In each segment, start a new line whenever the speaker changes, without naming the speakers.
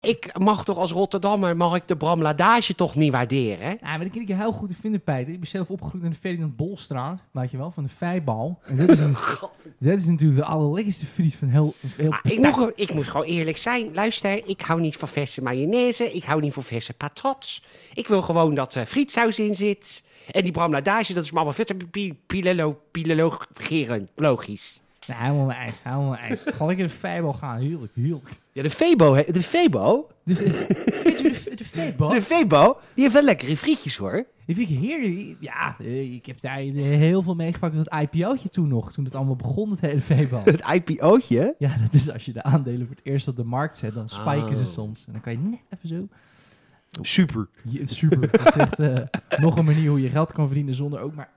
Ik mag toch als Rotterdammer, mag ik de Bram Ladage toch niet waarderen?
Nou, maar dat kan ik je heel goed te vinden, Peter. Ik ben zelf opgegroeid in de Ferdinand Bolstraat, weet je wel, van de Vijbal. En dat is, een- dat is natuurlijk de allerlekkerste friet van heel... van heel
Maar ik,
Nou.
moet, ik moet gewoon eerlijk zijn. Luister, ik hou niet van verse mayonaise. Ik hou niet van verse patots. Ik wil gewoon dat er frietsaus in zit. En die Bram Ladage, dat is me allemaal vetter pilelo, pilelo, gerend. Logisch.
Nou, helemaal mijn ijs, helemaal mijn ijs. Gewoon lekker de Vijbal gaan, heerlijk, heerlijk.
Ja, de Febo, he- de Febo,
Dus, weet je, de, de Vijbal,
de Febo, die heeft wel lekkere frietjes hoor.
die vind ik heerlijk. Ja, eh, ik heb daar heel veel meegepakt met dat IPO'tje toen nog, toen het allemaal begon, het hele Vijbal.
Het IPO'tje.
Ja, dat is als je de aandelen voor het eerst op de markt zet, dan spiken ze
Oh.
soms. En dan kan je net even zo.
Super.
Je- super. Dat is echt eh, nog een manier hoe je geld kan verdienen zonder ook maar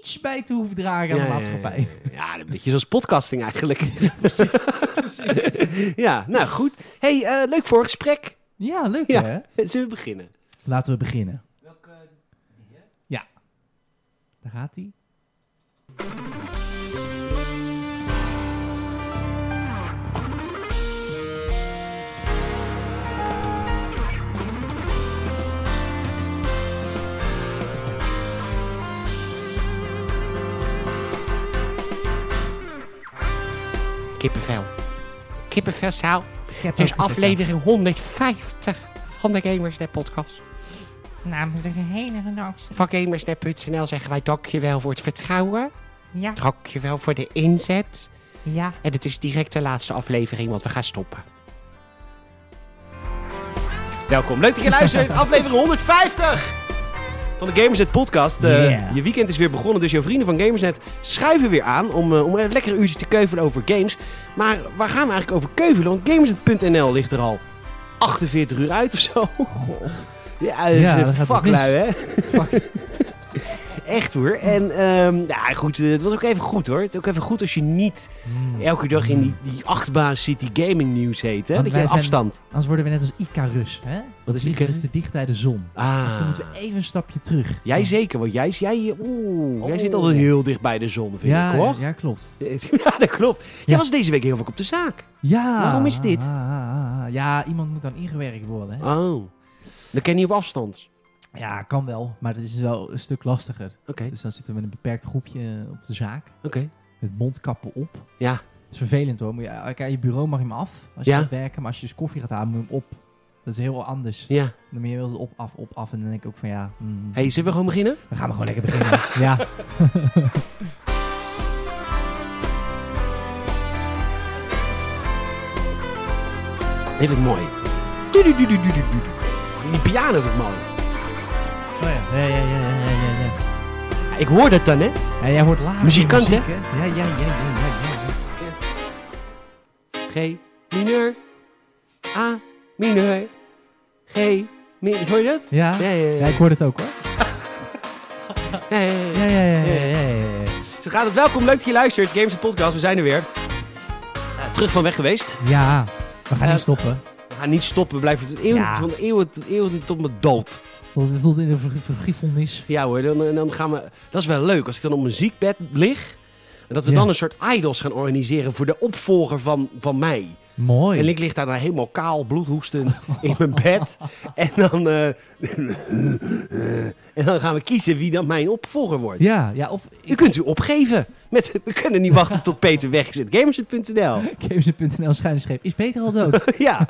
iets bij te hoeven dragen aan de maatschappij.
Ja, ja, ja. Ja,
Een beetje zoals podcasting eigenlijk.
precies. precies.
ja, nou goed. hey, eh, leuk voor gesprek.
Ja, leuk
Ja.
hè?
Zullen we beginnen?
Laten we beginnen. Ja. Daar gaat hij.
Kippenvel. Kippenvelzaal. Het
Dus
is aflevering 150 van de Gamersnet podcast.
Namens de gehele redactie.
Van gamersnet.nl zeggen wij dankjewel voor het vertrouwen.
Ja,
Dankjewel voor de inzet.
ja.
En het is direct de laatste aflevering, want we gaan stoppen.
Welkom. Leuk dat je luistert. Aflevering 150 van de Gamersnet podcast. Eh,
Yeah.
Je weekend is weer begonnen, dus jouw vrienden van Gamersnet schuiven weer aan om, eh, om een lekker uurtje te keuvelen over games. Maar waar gaan we eigenlijk over keuvelen? Want Gamersnet.nl ligt er al 48 uur uit of zo.
God.
Ja, dat is
Ja,
een
dat gaat
vaklui,
mis.
hè? Echt hoor. En ehm ja, goed, eh, het was ook even goed hoor. Het is ook even goed als je niet elke dag in die, die achtbaas zit die gaming nieuws heet. Hè?
Hmm. Want
Dat je
wij zijn-
afstand.
Anders worden we net als Icarus, hè?
Wat is
Vliegen we
Icarus?
te dicht bij de zon. Dus dan
Ah,
moeten we even een stapje terug.
jij zeker, want jij, jij, oeh, jij zit
Oeh.
altijd heel dicht bij de zon, vind
Oh. ja,
ik hoor.
ja, klopt.
Ja, dat klopt. Jij
Ja.
was deze week heel vaak op de zaak.
Ja.
Waarom is dit?
ah, ah, ah. Ja, iemand moet dan ingewerkt worden. Hè?
Oh,
Dan ken je op afstand.
Ja, kan wel, maar dat is wel een stuk lastiger.
Oké,
Dus dan zitten we met een beperkt groepje eh, op de zaak,
oké.
met mondkappen op.
Ja.
Dat is vervelend hoor. Moet je, elk aan je bureau mag je hem af als je
Ja.
gaat werken, maar als je dus koffie gaat halen, moet je hem op. Dat is heel anders.
Ja.
Dan ben je wel op, af, op, af. En dan denk ik ook van ja, hmm,
hey, zullen we gewoon beginnen?
we gaan maar gewoon lekker beginnen. ja.
even mooi. Tududududududu. Die piano vind ik mooi.
Oh ja. Ja, ja, ja, ja, ja, ja.
Ja, Ik hoor dat dan, hè?
Ja, jij hoort later
Muzikant,
muziek, hè? Ja, ja, ja, ja, ja,
G,
ja.
mineur. A, mineur. G, mineur. Hoor je dat?
Ja?
Ja, ja, ja.
Ja, ik hoor het ook hoor.
Ja, ja, ja, ja.
Ja, ja, ja, ja, ja, ja, ja.
Zo gaat het. Welkom, leuk dat je luistert. Games en Podcast, we zijn er weer. Eh, terug van weg geweest.
Ja, we gaan
Eh,
niet stoppen.
We gaan niet stoppen, we blijven tot eeuwen,
Ja.
van eeuwen tot eeuwen tot mijn dood.
Want het stond in de verg- vergiffenis.
Ja hoor, dan, en dan gaan we... Dat is wel leuk, als ik dan op mijn ziekbed lig... En dat we
Ja.
dan een soort idols gaan organiseren voor de opvolger van, van mij.
Mooi.
En ik lig daar dan helemaal kaal, bloedhoestend in mijn bed. En dan, eh, en dan gaan we kiezen wie dan mijn opvolger wordt.
Ja, ja, of
U kunt u opgeven. Met, we kunnen niet wachten tot Peter weg is. Gamers.nl.
Gamesen.nl schuinscheep is beter al dood.
Ja.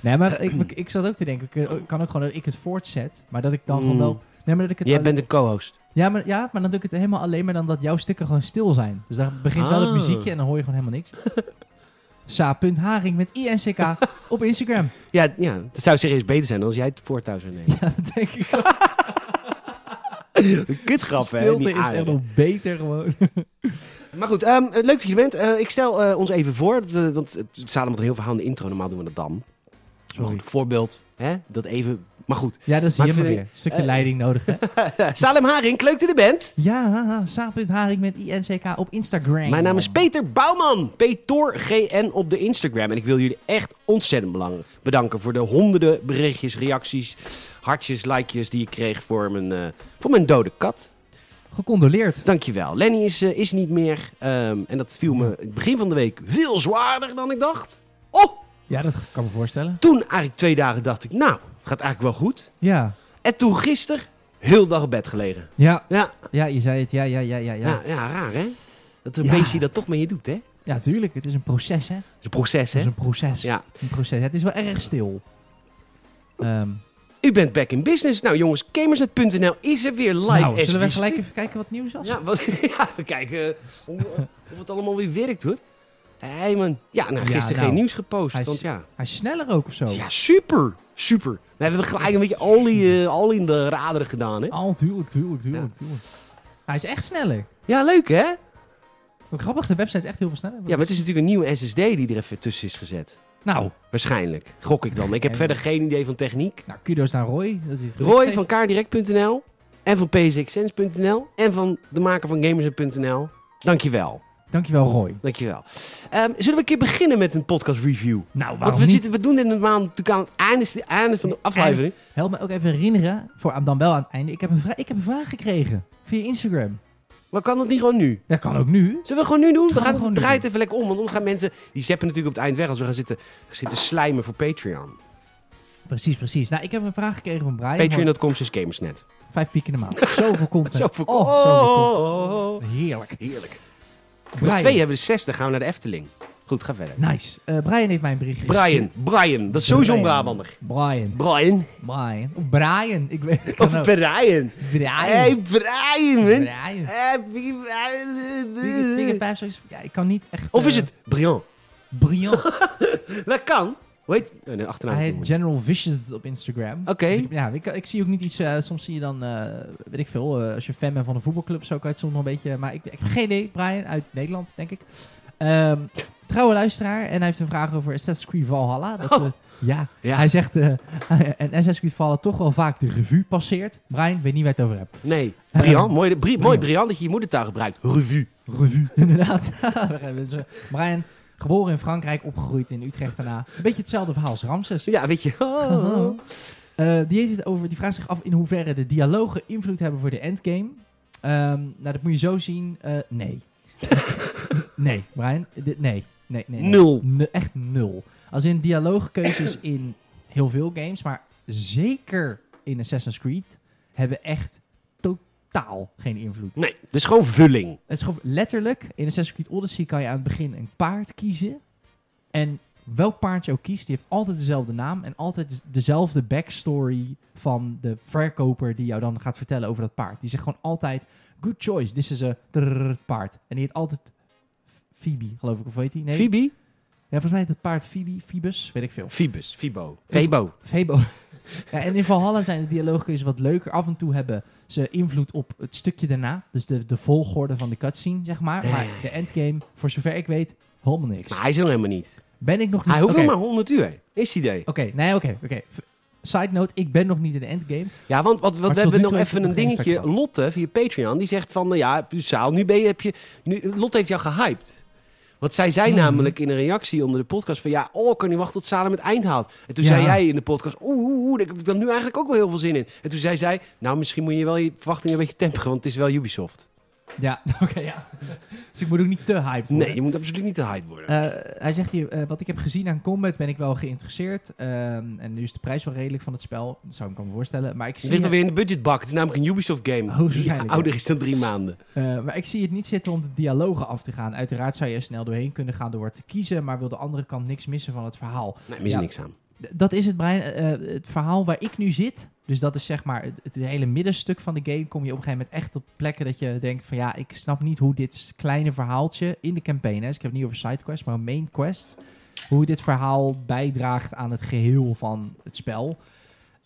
nee, maar ik, ik, ik zat ook te denken, ik eh, kan ook gewoon dat ik het voortzet, maar dat ik dan gewoon
Mm.
wel... Nee, maar dat ik het
Jij
alleen-
bent een co-host.
ja, maar, ja, maar dan doe ik het helemaal alleen maar dan dat jouw stukken gewoon stil zijn. Dus daar begint wel het
Ah.
muziekje en dan hoor je gewoon helemaal niks. Sa.haring met INCK op Instagram.
Ja, ja, dat zou serieus beter zijn dan als jij het voortouw zou nemen.
Ja, dat denk ik ook.
Een Kutschap, hè?
Stilte
die
is echt
aarde.
nog beter gewoon.
Maar goed, ehm, leuk dat je er bent. Eh, ik stel eh, ons even voor, dat, eh, want het staat allemaal een heel verhaal in de intro. Normaal doen we dat dan. Maar goed, voorbeeld, hè? Dat even... Maar goed.
Ja, dat is
Maar
hier maar
vind
weer. Stukje
eh,
leiding nodig, hè?
Salem Haring, leuk dat je er bent.
Ja, haha, Sa.haring met INCK op Instagram.
Mijn naam is Peter Bouwman. Peter GN op de Instagram. En ik wil jullie echt ontzettend belang- bedanken voor de honderden berichtjes, reacties, hartjes, likejes die ik kreeg voor mijn, eh, voor mijn dode kat.
Gecondoleerd.
Dankjewel. Lenny is, eh, is niet meer. Ehm, en dat viel me het begin van de week veel zwaarder dan ik dacht. Oh,
Ja, dat kan me voorstellen.
Toen eigenlijk twee dagen dacht ik, nou, gaat eigenlijk wel goed.
Ja,
En toen gisteren, heel dag op bed gelegen.
ja,
Ja,
ja je zei het. Ja, ja, ja, ja, ja.
ja. ja, raar hè? Dat een
Ja.
beestje dat toch met je doet hè? Het
Ja, tuurlijk. Het is een proces, hè.
is een proces
Het
hè?
is een proces.
Ja.
Een proces. Het is wel erg stil. Ehm,
U bent back in business. Nou jongens, gamersnet.nl is er weer live.
nou,
as
zullen
we
we gelijk even kijken wat nieuws was?
Ja, wat, ja, even kijken eh, hoe- of het allemaal weer werkt hoor. Hé man, ja, nou
Ja,
gisteren
nou.
geen nieuws gepost.
Hij is-
want ja.
Hij is sneller ook of zo.
ja, super, super. We hebben gelijk een beetje olie, eh, olie in de raderen gedaan hè.
Al, tuurlijk, tuurlijk, tuurlijk, tuurlijk. Hij is echt sneller.
Ja, leuk hè?
Wat grappig, de website is echt heel veel sneller.
Ja, maar het is natuurlijk een nieuwe SSD die er even tussen is gezet.
Nou,
Waarschijnlijk, gok ik dan. Ik heb
Ja.
verder geen idee van techniek.
nou, kudos naar Roy. Dat hij het gefixt
Roy
heeft.
van kaardirect.nl en van psxsense.nl en van de maker van gamers.nl. Dankjewel,
Dankjewel, Roy.
dankjewel. Ehm, zullen we een keer beginnen met een podcast review?
Nou,
Want
waarom
we,
niet?
zitten, we doen dit normaal natuurlijk aan het einde, het einde van de aflevering.
Help me ook even herinneren, voor, dan wel aan het einde. Ik heb, een vra- ik heb een vraag gekregen via Instagram.
Maar kan dat niet gewoon nu?
Dat kan ook nu.
Zullen we gewoon nu doen? We
Gaan we
gaan
gewoon
het
nu
draait
doen.
even lekker om. Want anders gaan mensen... Die zeppen natuurlijk op het eind weg als we gaan zitten, zitten slijmen voor Patreon.
Precies, precies. Nou, ik heb een vraag gekregen van Brian. Want
Patreon.com slash gamersnet.
Vijf piek in de maand. Zoveel content.
Zoveel
oh,
content.
zoveel
Oh, oh,
content. Heerlijk.
Heerlijk. Nog
Brian.
twee hebben we de 60. Gaan we naar de Efteling. Goed, ga verder.
Nice. Eh, Brian heeft mij een bericht
Brian.
gestuurd.
Brian. Dat is sowieso een
Brian.
Brabander.
Brian.
Brian.
Brian. Of Brian. Ik weet het
Of
kan ook.
Brian.
nou. Brian.
Hey, Brian, man.
Brian.
Happy
Big- Big
Brian.
Bad Pie is- Ja, ik kan niet echt...
Of is
eh,
het Brian?
Brian.
Dat kan. Hoe heet... Oh, nee, achternaam.
Hij heet General Vicious op Instagram.
Oké.
Dus ik- ja, ik, ik zie ook niet iets... eh, soms zie je dan, eh, weet ik veel, eh, als je fan bent van een voetbalclub, zo kan je het soms nog een beetje... Maar ik, ik heb geen idee, Brian, uit Nederland, denk ik. Ehm, trouwe luisteraar. En hij heeft een vraag over Assassin's Creed Valhalla. Dat, eh, ja,
Oh. Ja.
hij zegt... eh, en Assassin's Creed Valhalla toch wel vaak de revue passeert. Brian, weet niet waar je het over hebt.
Nee, Brian,
Eh,
mooi, Bri- mooi
Brian.
Brian dat je je moedertaal gebruikt. Revue.
Revue. Inderdaad. We hebben ze- Brian, geboren in Frankrijk, opgegroeid in Utrecht daarna. Een beetje hetzelfde verhaal als Ramses.
Ja, weet je. Oh.
Eh, die, heeft het over, die vraagt zich af in hoeverre de dialogen invloed hebben voor de endgame. Ehm, nou, dat moet je zo zien. eh, nee. nee, Brian. Dit- nee. Nee, nee, nee.
Nul.
Ne- echt nul. Als in dialoogkeuzes in heel veel games, maar zeker in Assassin's Creed, hebben echt totaal geen invloed.
Nee, dus gewoon vulling.
Het is gewoon letterlijk, in Assassin's Creed Odyssey kan je aan het begin een paard kiezen. En welk paard je ook kiest, die heeft altijd dezelfde naam en altijd des- dezelfde backstory van de verkoper die jou dan gaat vertellen over dat paard. Die zegt gewoon altijd, good choice, this is a trrrr paard. En die heet altijd F- Phoebe, geloof ik, of weet hij? Nee,
Phoebe?
ja, volgens mij heet het paard Phoebe, Phoebus, weet ik veel.
Phoebus. Fibo. Febo.
Febo. ja, en in Valhalla zijn de dialoogkeuzes wat leuker. Af en toe hebben ze invloed op het stukje daarna. Dus de, de volgorde van de cutscene, zeg maar.
Ja,
Maar
ja, ja.
de endgame, voor zover ik weet, helemaal niks.
Maar hij is er nog helemaal niet.
Ben ik nog niet...
Hij hoeft
Oké,
nog maar 100 uur. Is het idee.
Oké, nee, oké, oké. V- Side note, ik ben nog niet in de endgame.
Ja, want wat, wat
tot
we hebben
nu
nog
toe heeft
even
het
een
nog geen
dingetje.
effect gehad.
Lotte via Patreon, die zegt van, nou ja, Saal, nu ben je, heb je... Nu, Lotte heeft jou gehyped. Want zij zei
Hmm.
namelijk in een reactie onder de podcast van... Ja, oh, ik kan niet wachten tot Salem het eind haalt. En toen
Ja.
zei jij in de podcast... Oeh, oeh, oeh, daar heb ik dan nu eigenlijk ook wel heel veel zin in. En toen zei zij... Nou, misschien moet je wel je verwachtingen een beetje temperen, want het is wel Ubisoft.
Ja, oké, ja. Dus ik moet ook niet te hyped worden.
Nee, je moet absoluut niet te hyped worden.
Eh, hij zegt hier, eh, wat ik heb gezien aan combat ben ik wel geïnteresseerd. Ehm, en nu is de prijs wel redelijk van het spel. Dat zou ik me kunnen voorstellen. Maar ik
Het
zie Oh,
ligt alweer in de budgetbak. Het is namelijk een Ubisoft game. die
waarschijnlijk, ja.
ouder is dan drie maanden.
Eh, maar ik zie het niet zitten om de dialogen af te gaan. Uiteraard zou je er snel doorheen kunnen gaan door wat te kiezen, maar wil de andere kant niks missen van het verhaal.
Nee, Nou, mis
Ja.
niks aan.
D- dat is het, Brian. Eh, eh, het verhaal waar ik nu zit, dus dat is zeg maar het, het hele middenstuk van de game, kom je op een gegeven moment echt op plekken dat je denkt van ja, ik snap niet hoe dit kleine verhaaltje in de campaign, hè, dus ik heb het niet over sidequest, maar main quest, hoe dit verhaal bijdraagt aan het geheel van het spel.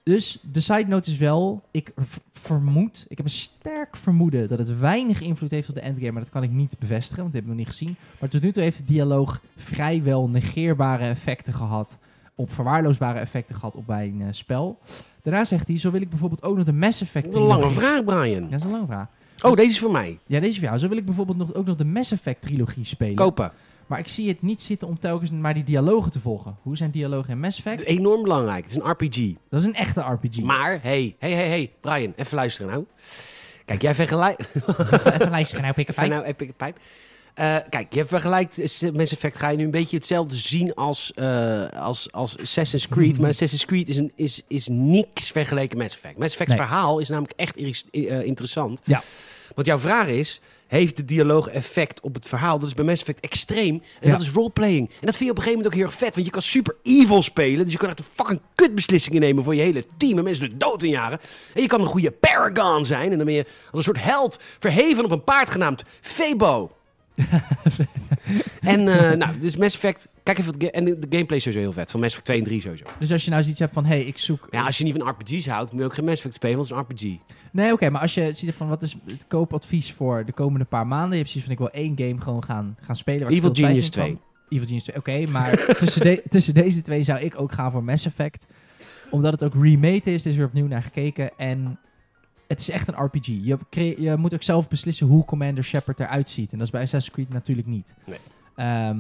Dus de side note is wel, ik v- vermoed, ik heb een sterk vermoeden dat het weinig invloed heeft op de endgame, maar dat kan ik niet bevestigen, want dat heb ik nog niet gezien. Maar tot nu toe heeft de dialoog vrijwel negeerbare effecten gehad, op verwaarloosbare effecten gehad op mijn eh, spel. Daarna zegt hij, zo wil ik bijvoorbeeld ook nog de Mass Effect...
Wat een lange
trilogie-
vraag,
Ja,
Brian.
dat is een lange vraag.
Oh, deze is voor mij.
Ja, deze is voor jou. Zo wil ik bijvoorbeeld nog, ook nog de Mass Effect trilogie spelen.
Kopen.
Maar ik zie het niet zitten om telkens maar die dialogen te volgen. Hoe zijn dialogen in Mass Effect?
Enorm belangrijk. Het is een RPG.
Dat is een echte RPG.
Maar, hey, hey, hey, hey, Brian, even luisteren nou. Kijk, jij vergelijkt...
Even- Even luisteren nou,
Even
Pikkerfijn.
nou, Epic Pijp. Eh, kijk, je vergelijkt eh, Mass Effect. Ga je nu een beetje hetzelfde zien als, eh, als, als Assassin's Creed. Maar Assassin's Creed is, een, is, is niks vergeleken met Mass Effect. Mass Effect's
Nee.
verhaal is namelijk echt iris- eh, interessant.
Ja.
Want jouw vraag is, heeft de dialoog effect op het verhaal? Dat is bij Mass Effect extreem. En
Ja.
dat is roleplaying. En dat vind je op een gegeven moment ook heel erg vet. Want je kan super evil spelen. Dus je kan echt een fucking kutbeslissingen nemen voor je hele team. En mensen doen dood in jaren. En je kan een goede paragon zijn. En dan ben je als een soort held verheven op een paard genaamd Febo. en eh, nou, dus Mass Effect... Kijk even, het ga- en de de gameplay is sowieso heel vet. Van Mass Effect 2 en 3 sowieso.
Dus als je nou zoiets hebt van, hé, hey, ik zoek...
Ja, als je niet van RPG's houdt, moet je ook geen Mass Effect spelen, want het is een RPG.
Nee, oké, maar als je zoiets hebt van, wat is het koopadvies voor de komende paar maanden? Je hebt zoiets van, ik wil één game gewoon gaan, gaan spelen. Waar ik
Evil
veel tijd
Genius
in kan.
2.
Evil Genius 2, oké, maar tussen, de- tussen deze twee zou ik ook gaan voor Mass Effect. Omdat het ook remade is, er is weer opnieuw naar gekeken en... Het is echt een RPG. Je, cre- je moet ook zelf beslissen hoe Commander Shepard eruit ziet. En dat is bij Assassin's Creed natuurlijk niet.
Nee.
Ehm,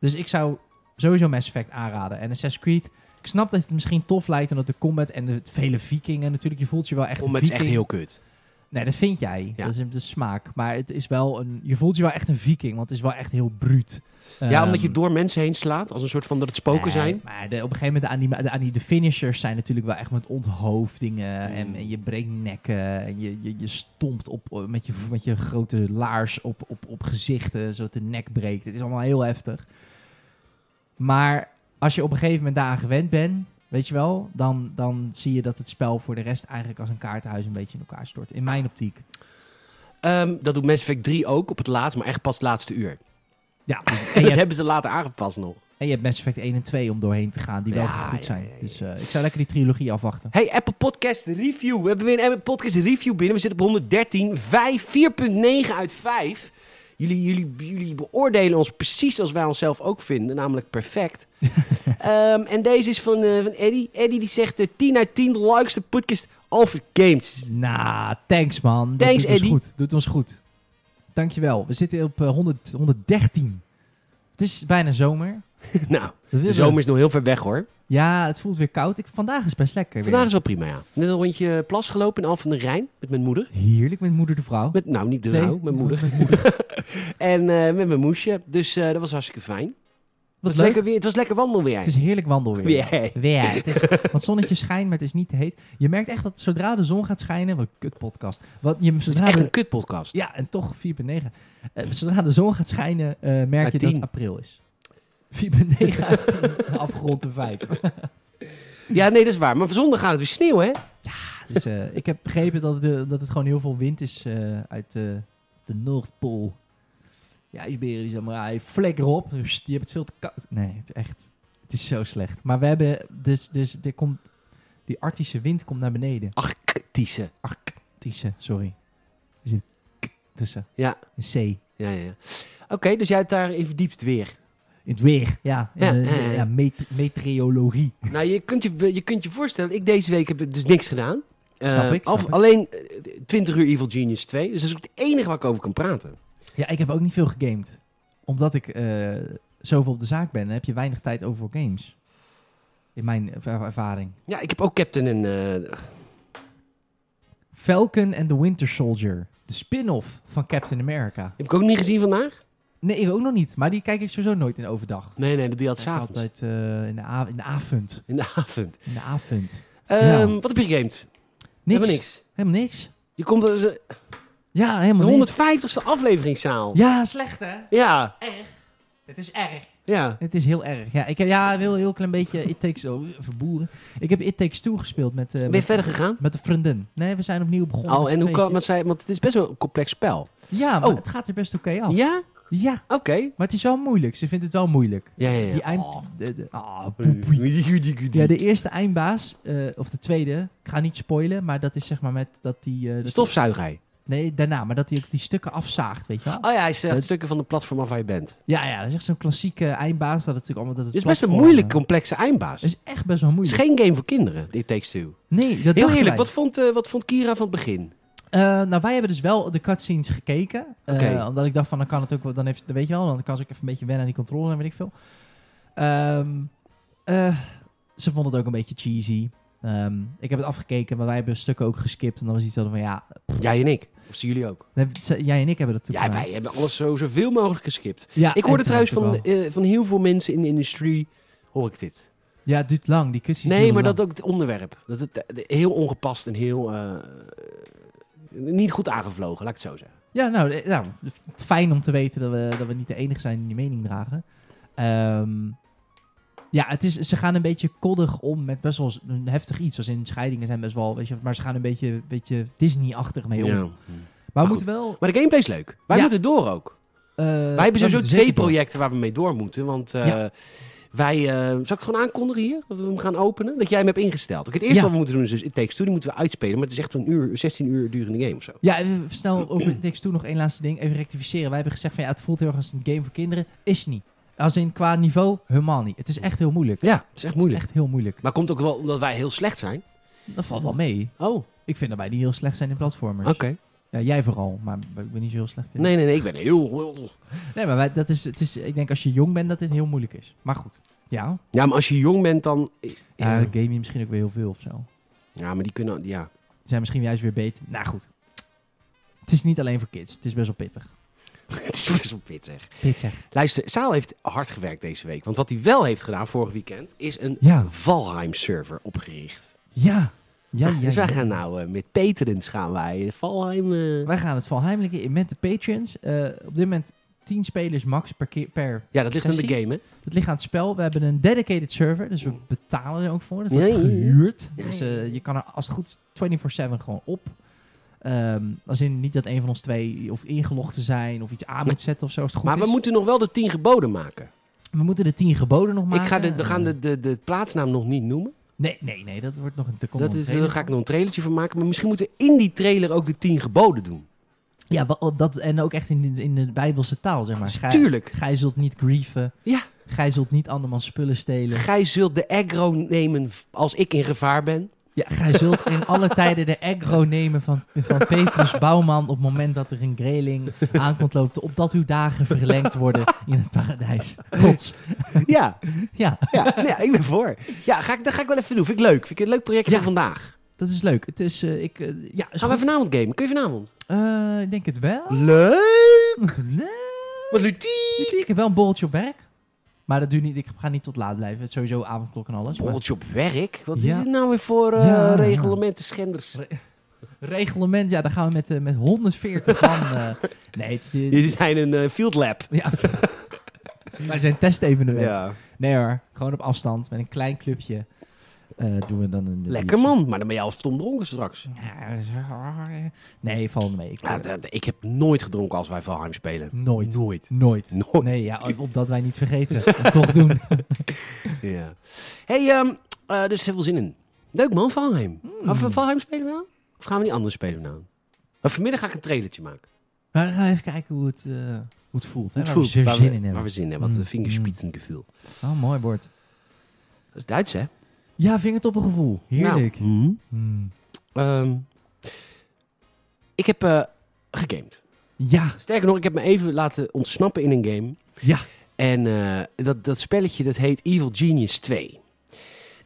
dus ik zou sowieso Mass Effect aanraden. En Assassin's Creed, ik snap dat het misschien tof lijkt... omdat de combat en de vele vikingen natuurlijk... je voelt je wel echt
Omdat
een
het is echt
viking.
heel kut.
Nee, dat vind jij.
Ja.
Dat, is, dat is smaak. Maar het is wel een. Je voelt je wel echt een viking, want het is wel echt heel bruut.
Ja,
Ehm,
omdat je door mensen heen slaat, als een soort van dat het spoken
nee,
zijn.
Maar de, op een gegeven moment, de, anima- de, ani- de finishers zijn natuurlijk wel echt met onthoofdingen.
Mm.
En, en je breekt nekken. En je, je, je stompt op, eh, met, je, met je grote laars op, op, op gezichten, zodat de nek breekt. Het is allemaal heel heftig. Maar als je op een gegeven moment daaraan gewend bent, weet je wel, dan, dan zie je dat het spel voor de rest eigenlijk als een kaartenhuis een beetje in elkaar stort. In mijn optiek.
Ehm, dat doet Mass Effect 3 ook op het laatst, maar echt pas het laatste uur.
Ja,
En
en
dat
je, hebt,
hebben ze later aangepast nog.
en je hebt Mass Effect 1 en 2 om doorheen te gaan, die wel
Ja,
goed
ja,
zijn.
ja, ja.
Dus eh, ik zou lekker die trilogie afwachten.
Hey, Apple Podcast Review. We hebben weer een Apple Podcast Review binnen. We zitten op 113, 5, 4.9 uit 5. Jullie, jullie, jullie beoordelen ons precies zoals wij onszelf ook vinden, namelijk perfect. Ehm, en deze is van, eh, van Eddie. Eddie die zegt de 10 uit 10 leukste podcast over games.
Nou, thanks man. Dat
Thanks,
doet
Eddie.
ons goed. Doet ons goed. Dankjewel. We zitten op eh, 100, 113. Het is bijna zomer.
nou,
We
de
willen-
zomer is nog heel ver weg hoor.
Ja, het voelt weer koud. Ik, vandaag is best lekker weer.
Vandaag is wel prima, ja. Net een rondje plas gelopen in Al van den Rijn met mijn moeder.
Heerlijk met moeder de vrouw.
Met, nou, niet de
Nee,
rouw, mijn
met-
moeder.
met moeder.
En eh, met mijn moesje. Dus eh, dat was hartstikke fijn. Het
Wat
was
leuk.
lekker weer, het was lekker wandelweer.
Het is heerlijk wandelweer.
Weer.
Weer. Het is, want zonnetje schijnt, maar het is niet te heet. Je merkt echt dat zodra de zon gaat schijnen... Wat een kut podcast. Wat, je,
Het
zodra
is echt
de-
een kutpodcast.
Ja, en toch 4,9. Eh, zodra de zon gaat schijnen, eh, merk
Uit
je
10.
dat het april is. 4,9 uit 10, afgerond de 5.
Ja, nee, dat is waar. Maar zondag gaat het weer sneeuw, hè?
Dus eh, ik heb begrepen dat het, eh, dat het gewoon heel veel wind is eh, uit eh, de Noordpool. Ja, ijsberen die zijn maar hij flikker op. Dus die hebben het veel te koud. Nee, het is echt. Het is zo slecht. Maar we hebben dus, dus er komt, die arctische wind komt naar beneden.
Arctische.
Arctische, sorry. Er zit k tussen.
Ja.
Een C.
Ja, ja, ja. Oké, dus jij hebt daar even verdiept weer.
In het weer, ja.
Ja,
Eh,
ja, ja.
ja, met- meteorologie.
nou, je kunt je, je kunt je voorstellen, ik deze week heb dus niks gedaan. Eh,
Snap ik, snap
af-
ik.
Alleen eh, 20 uur Evil Genius 2. Dus dat is ook het enige waar ik over kan praten.
Ja, ik heb ook niet veel gegamed. Omdat ik eh, zoveel op de zaak ben, heb je weinig tijd over voor games. In mijn er- ervaring.
Ja, ik heb ook Captain en... eh,
Falcon and the Winter Soldier. De spin-off van Captain America.
heb ik ook niet gezien vandaag?
Nee, ik ook nog niet. Maar die kijk ik sowieso nooit in overdag.
Nee, nee, dat doe je altijd
Ik kijk
s'avonds.
altijd eh, in, de a- in de avond.
In de avond.
In de avond.
Ehm, Wat heb je gegamed?
Niks.
Helemaal niks.
Helemaal niks.
Je komt eh, als een-
Ja, helemaal niks.
de 150ste afleveringszaal.
Ja, slecht hè?
Ja,
Het is erg.
ja.
Het is heel erg. Ja, ik heb ja, heel, heel klein beetje It Takes... Oh, verboeren. Ik heb It Takes Two gespeeld met... eh,
Ben je
met-
verder gegaan?
Met de vriendin. Nee, we zijn opnieuw begonnen.
Oh,
met
en
z'n
hoe kan want
tweetjes.
zij, Want het is best wel een complex spel.
Ja, maar
Oh.
het gaat er best oké af. Ja.
Ja? Oké.
maar het is wel moeilijk. Ze vindt het wel moeilijk.
Ja, ja,
Die
ja.
eind...
Oh.
de- de- ah, poepie. Ja, de eerste eindbaas, eh, of de tweede, ik ga niet spoilen, maar dat is zeg maar met dat die... eh, dat die-
Stofzuigerij.
nee, daarna, maar dat hij ook die stukken afzaagt, weet je wel?
Oh ja, hij zegt
Het-
stukken van de platform af waar je bent.
Ja, ja, dat is echt zo'n klassieke eindbaas. Dat het natuurlijk allemaal... Dat het
Het is best een
platformen-
moeilijk, complexe eindbaas.
eh. Het
Het
is echt best wel
is
moeilijk.
geen game voor kinderen, dit Takes Two.
Nee, dat
Heel
dachten
eerlijk,
wij.
wat vond, eh, wat vond Kira van het begin?
Eh, nou, wij hebben dus wel de cutscenes gekeken. Eh,
Oké.
omdat ik dacht van, dan kan het ook wel, dan heeft, dan weet je wel, dan kan ze ook even een beetje wennen aan die controle en weet ik veel. Ehm, eh, ze vond het ook een beetje cheesy. Ehm, ik heb het afgekeken, maar wij hebben stukken ook geskipt. En dan was iets van, ja...
Jij en ik. Of zien jullie ook?
nee, z- Jij en ik hebben dat toen
Ja,
gedaan.
wij hebben alles zo, zoveel mogelijk geskipt.
Ja,
Ik hoorde
en terecht
trouwens van,
ook wel.
eh, van heel veel mensen in de industrie, hoor ik dit.
Ja, het duurt lang. Die kussies
Nee,
duren
maar
lang.
dat ook het onderwerp. Dat het eh, heel ongepast en heel... eh, niet goed aangevlogen, laat ik het zo zeggen.
Ja, nou, eh, nou, f- fijn om te weten dat we, dat we niet de enige zijn die die mening dragen. Ehm, ja, het is, ze gaan een beetje koddig om met best wel z- een heftig iets. Als in scheidingen zijn best wel, weet je, maar ze gaan een beetje, beetje Disney-achtig mee om.
Ja.
Maar,
Maar
we moeten wel...
Maar de gameplay is leuk. Wij
Ja.
moeten door ook.
eh,
wij hebben
we
sowieso
moeten
twee
zeker door.
projecten waar we mee door moeten. Want eh,
Ja.
wij... eh, zal ik het gewoon aankondigen hier? Dat we hem gaan openen? Dat jij hem hebt ingesteld. Oké, het eerste
Ja.
wat we moeten doen is dus It Takes Two. Die moeten we uitspelen. Maar het is echt een uur, 16 uur durende game of zo.
Ja, even snel over tekst toe nog één laatste ding. Even rectificeren. Wij hebben gezegd van ja, het voelt heel erg als een game voor kinderen. Is niet. Als in qua niveau, helemaal niet. Het is echt heel moeilijk.
Ja, het is echt moeilijk.
Het is echt heel moeilijk.
Maar komt ook wel omdat wij heel slecht zijn.
Dat valt wel mee.
Oh, oké.
Ik vind dat wij niet heel slecht zijn in platformers. Ja, jij vooral, maar ik ben niet zo heel slecht in.
Nee, nee, nee. Ik ben heel...
Nee, maar wij- dat is, het is, ik denk als je jong bent dat dit heel moeilijk is. Maar goed. Ja,
Ja, maar als je jong bent dan...
ja.
Ja,
game je misschien ook weer heel veel of zo.
ja maar die kunnen... Ja.
Die Zijn misschien juist weer beter. Nou goed. Het is niet alleen voor kids. Het is best wel pittig.
Het is best wel pittig.
Pittig.
Luister, Saal heeft hard gewerkt deze week. Want wat hij wel heeft gedaan vorig weekend, is een
Ja.
Valheim-server opgericht.
Ja. Ja, ja.
dus wij
ja.
gaan nou eh, met Peterens gaan wij eh, Valheim... eh,
Wij gaan het valheimelijke in met de patrons. Eh, op dit moment 10 spelers max per, keer, per...
Ja, dat ligt aan de
Sessie?
game, hè?
Dat ligt aan het spel. We hebben een dedicated server, dus we betalen er ook voor. Dat
Ja,
wordt
ja, ja.
gehuurd.
Mm. Ja,
Dus
ja, ja.
eh, je kan er als het goed is 24-7 gewoon op. Ehm, als in niet dat een van ons twee of ingelogd te zijn of iets aan moet zetten of zo. Als het goed
Maar we
is.
moeten nog wel de tien geboden maken.
we moeten de 10 geboden nog maken. Eh,
Ik ga de, we gaan de, de, de plaatsnaam nog niet noemen.
Nee, nee, nee, dat wordt nog een te komen
dat
nog
is,
een
daar
trailer.
ga ik nog een trailertje van maken. Maar misschien moeten we in die trailer ook de tien geboden doen.
Ja, wel- dat, en ook echt in, de- in de Bijbelse taal, zeg maar. Gij-
Tuurlijk.
Gij zult niet grieven.
Ja.
Gij zult niet andermans spullen stelen.
Gij zult de aggro nemen als ik in gevaar ben.
Ja, gij zult in alle tijden de aggro nemen van, van Petrus Bouwman op het moment dat er een greling aankomt loopt, opdat uw dagen verlengd worden in het paradijs. Gods.
Ja,
Ja,
ja, nee, ja, ik ben voor. Ja, ga ik, dat ga ik wel even doen. Vind ik leuk. Vind ik een leuk projectje
Ja.
voor vandaag.
dat is leuk. Het is, eh, ik, eh, ja, is
Gaan we
goed.
vanavond gamen? Kun je vanavond?
Eh, ik denk het wel.
Leuk!
Nee.
Wat Lutie!
Ik heb wel een borreltje op werk, maar dat duurt niet. Ik ga niet tot laat blijven. Sowieso avondklok en alles. Maar
Borreltje op werk? Wat
Ja.
is dit nou weer voor eh,
Ja.
reglementen schenders?
reglement, ja, daar gaan we met, eh, met 140 man. eh, nee, het is...
Jullie zijn een eh, field lab.
ja. Wij zijn testevenement.
Ja.
Nee hoor, gewoon op afstand met een klein clubje eh, doen we dan een.
Lekker
biertje.
man, maar dan ben je al stom dronken straks.
Ja, zo- Nee, valt mee. Ik, eh,
Ja, dat- ik heb nooit gedronken als wij Valheim spelen.
nooit.
Nooit.
Nooit.
Nooit.
Nee, ja, opdat wij niet vergeten. En toch doen.
Ja. hey, ehm eh, er is heel veel zin in. Leuk man, Valheim.
Hmm.
Gaan we Valheim spelen nou? Of gaan we die andere spelen nou? Maar vanmiddag ga ik een trailertje maken.
Maar dan gaan we even kijken hoe het, eh, hoe het voelt.
Hoe
Hè?
het
waar
voelt,
we er
waar
zin
we-
in
Waar
hebben.
we zin in hebben,
Mm.
wat vingerspitsengevoel.
Oh, mooi bord.
Dat is Duits, hè?
Ja, vingertoppengevoel. Heerlijk.
Nou, mhm.
Hmm.
Ehm, ik heb eh, gegamed.
Ja,
Sterker nog, ik heb me even laten ontsnappen in een game.
ja.
En eh, dat, dat spelletje dat heet Evil Genius 2.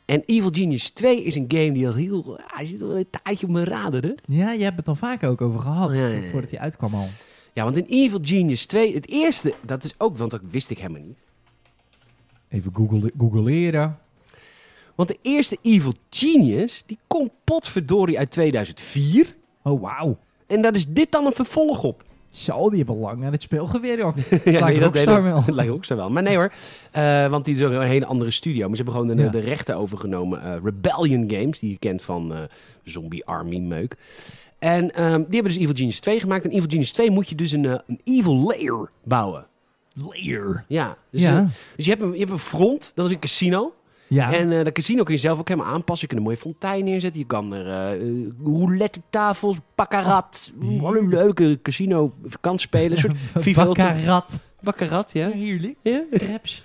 En Evil Genius 2 is een game die al heel... Hij zit al een tijdje op mijn radar, hè?
Ja, je hebt het al vaker ook over gehad.
Ja, ja, ja.
Voordat hij uitkwam al.
Ja, want in Evil Genius 2, het eerste... Dat is ook, want dat wist ik helemaal niet.
Even googelen- googleren.
Want de eerste Evil Genius, die komt potverdorie uit 2004.
Oh, wauw.
En daar is dit dan een vervolg op.
Zo, die hebben lang aan het speelgeweer, joh.
Ja,
Lijkt
dat
Rockstar
deed-
wel.
dat lijkt Rockstar wel. Maar nee hoor, eh, want die is ook een hele andere studio. Maar ze hebben gewoon de,
Ja.
de rechten overgenomen. eh, Rebellion Games, die je kent van eh, Zombie Army meuk. En ehm, die hebben dus Evil Genius 2 gemaakt. En Evil Genius 2 moet je dus een, eh, een evil layer bouwen.
Layer.
Ja, dus,
Ja.
eh, dus je, hebt een, je hebt een front, dat is een casino.
Ja.
En eh dat casino kun je zelf ook helemaal aanpassen. Je kunt een mooie fontein neerzetten. Je kan er eh, eh, roulette tafels, baccarat.
Oh,
alle leuke casino kan spelen. Een soort FIFA Ultimate-
Bakkarat.
Baccarat, ja.
Heerlijk.
ja.
Krebs.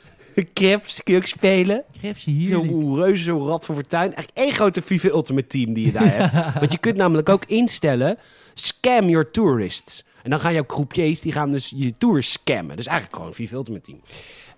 Krebs kun je ook spelen.
Krebs, heerlijk.
Zo'n reuze, zo'n rad van fortuin. Eigenlijk één grote FIFA Ultimate Team die je daar hebt. Want je kunt namelijk ook instellen... Scam your tourists. En dan gaan jouw croupiers, die gaan dus je tours scammen. Dus eigenlijk gewoon FIFA Ultimate Team.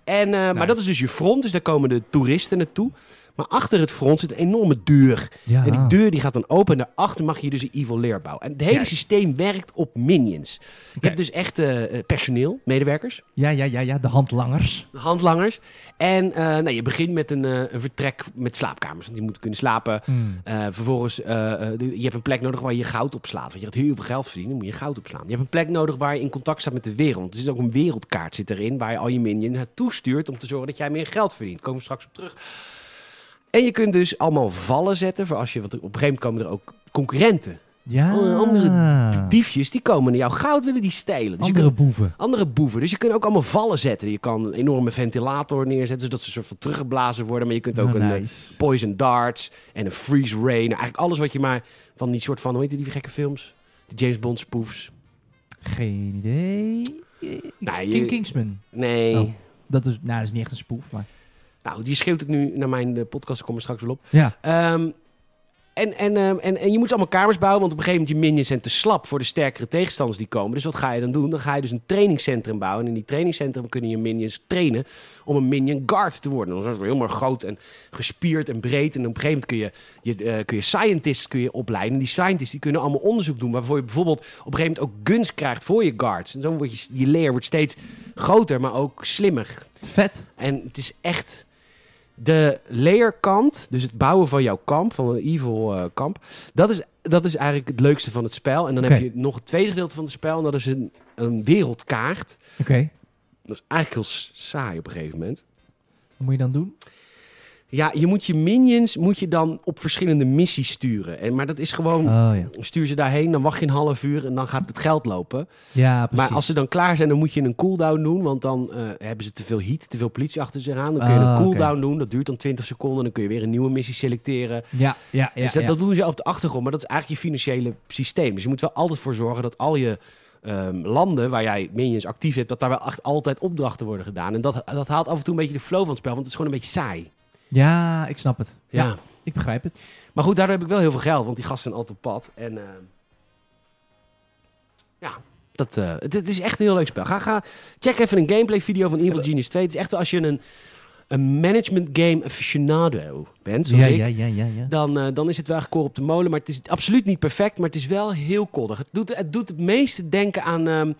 En, eh, Maar dat is dus je front, dus daar komen de toeristen naartoe. Maar achter het front zit een enorme deur.
Ja.
En die deur die gaat dan open. En daarachter mag je dus een evil lair bouwen. En het hele
Juist.
systeem werkt op minions. Je
Oké.
hebt dus echt eh, eh, personeel, medewerkers
ja, ja, ja, ja, de handlangers.
handlangers. En eh, nou, je begint met een, eh, een vertrek met slaapkamers, want die moeten kunnen slapen. Eh, vervolgens, eh, eh, je hebt een plek nodig waar je goud op slaat. Want je gaat heel veel geld verdienen, dan moet je goud opslaan. Je hebt een plek nodig waar je in contact staat met de wereld. Want er zit ook een wereldkaart zit erin, waar je al je minions naartoe stuurt... om te zorgen dat jij meer geld verdient. Daar komen we straks op terug. En je kunt dus allemaal vallen zetten voor als je... Want op een gegeven moment komen er ook concurrenten.
Ja.
Oh, andere Diefjes, die komen jouw goud willen die stelen. Dus je kunt-
Ah. Andere boeven.
andere boeven. Dus je kunt ook allemaal vallen zetten. Je kan een enorme ventilator neerzetten, zodat ze soort van teruggeblazen worden. Maar je kunt ook
Nou,
een eh,
nice.
poison darts en een freeze rain. Nou, eigenlijk alles wat je maar van die soort van, hoe heet die gekke films? De James Bond spoofs.
Geen idee.
Nou, je-
King Kingsman.
Nee.
Oh. Dat is, nou, dat is niet echt een spoef, maar...
Nou, die schreeuwt het nu naar mijn eh, podcast. Ik kom er straks wel op.
Ja.
Ehm, en, en, ehm, en, en je moet allemaal kamers bouwen, want op een gegeven moment je minions zijn te slap voor de sterkere tegenstanders die komen. Dus wat ga je dan doen? Dan ga je dus een trainingscentrum bouwen. En in die trainingscentrum kunnen je minions trainen om een minion guard te worden. Dan zijn ze helemaal groot en gespierd en breed. En op een gegeven moment kun je, je, eh, kun je scientists kun je opleiden. En die scientists die kunnen allemaal onderzoek doen, waarvoor je bijvoorbeeld op een gegeven moment ook guns krijgt voor je guards. En zo wordt je, je leer wordt steeds groter, maar ook slimmer.
Vet.
En het is echt de leerkant, dus het bouwen van jouw kamp, van een evil eh, kamp. Dat is, dat is eigenlijk het leukste van het spel. En dan
Oké.
heb je nog het tweede gedeelte van het spel. En dat is een, een wereldkaart.
Oké.
Dat is eigenlijk heel s- saai op een gegeven moment.
Wat moet je dan doen?
Ja, je moet je minions moet je dan op verschillende missies sturen. En, maar dat is gewoon...
Oh, ja.
Stuur ze daarheen, dan wacht je een half uur en dan gaat het geld lopen.
Ja, precies.
Maar als ze dan klaar zijn, dan moet je een cooldown doen. Want dan eh, hebben ze te veel heat, te veel politie achter zich aan. Dan kun je
Ah,
een
oké.
cooldown doen. Dat duurt dan 20 seconden. Dan kun je weer een nieuwe missie selecteren.
Ja, ja, ja.
dus dat,
ja.
dat doen ze op de achtergrond. Maar dat is eigenlijk je financiële systeem. Dus je moet wel altijd voor zorgen dat al je ehm, landen waar jij minions actief hebt... dat daar wel echt altijd opdrachten worden gedaan. En dat, dat haalt af en toe een beetje de flow van het spel. Want het is gewoon een beetje saai.
ja, ik snap het. Ja.
Ja.
Ik begrijp het.
Maar goed, daardoor heb ik wel heel veel geld. Want die gasten zijn altijd op pad. En ehm, ja... Dat, eh, het, het is echt een heel leuk spel. Ga, ga, check even een gameplay video van Evil Genius 2. Het is echt wel als je een, een management game aficionado bent, zoals
Ja,
ik.
ja, ja, ja, ja.
dan, eh, dan is het wel echt koren op de molen. Maar het is absoluut niet perfect, maar het is wel heel koddig. Het doet het, doet het meeste denken aan, ehm,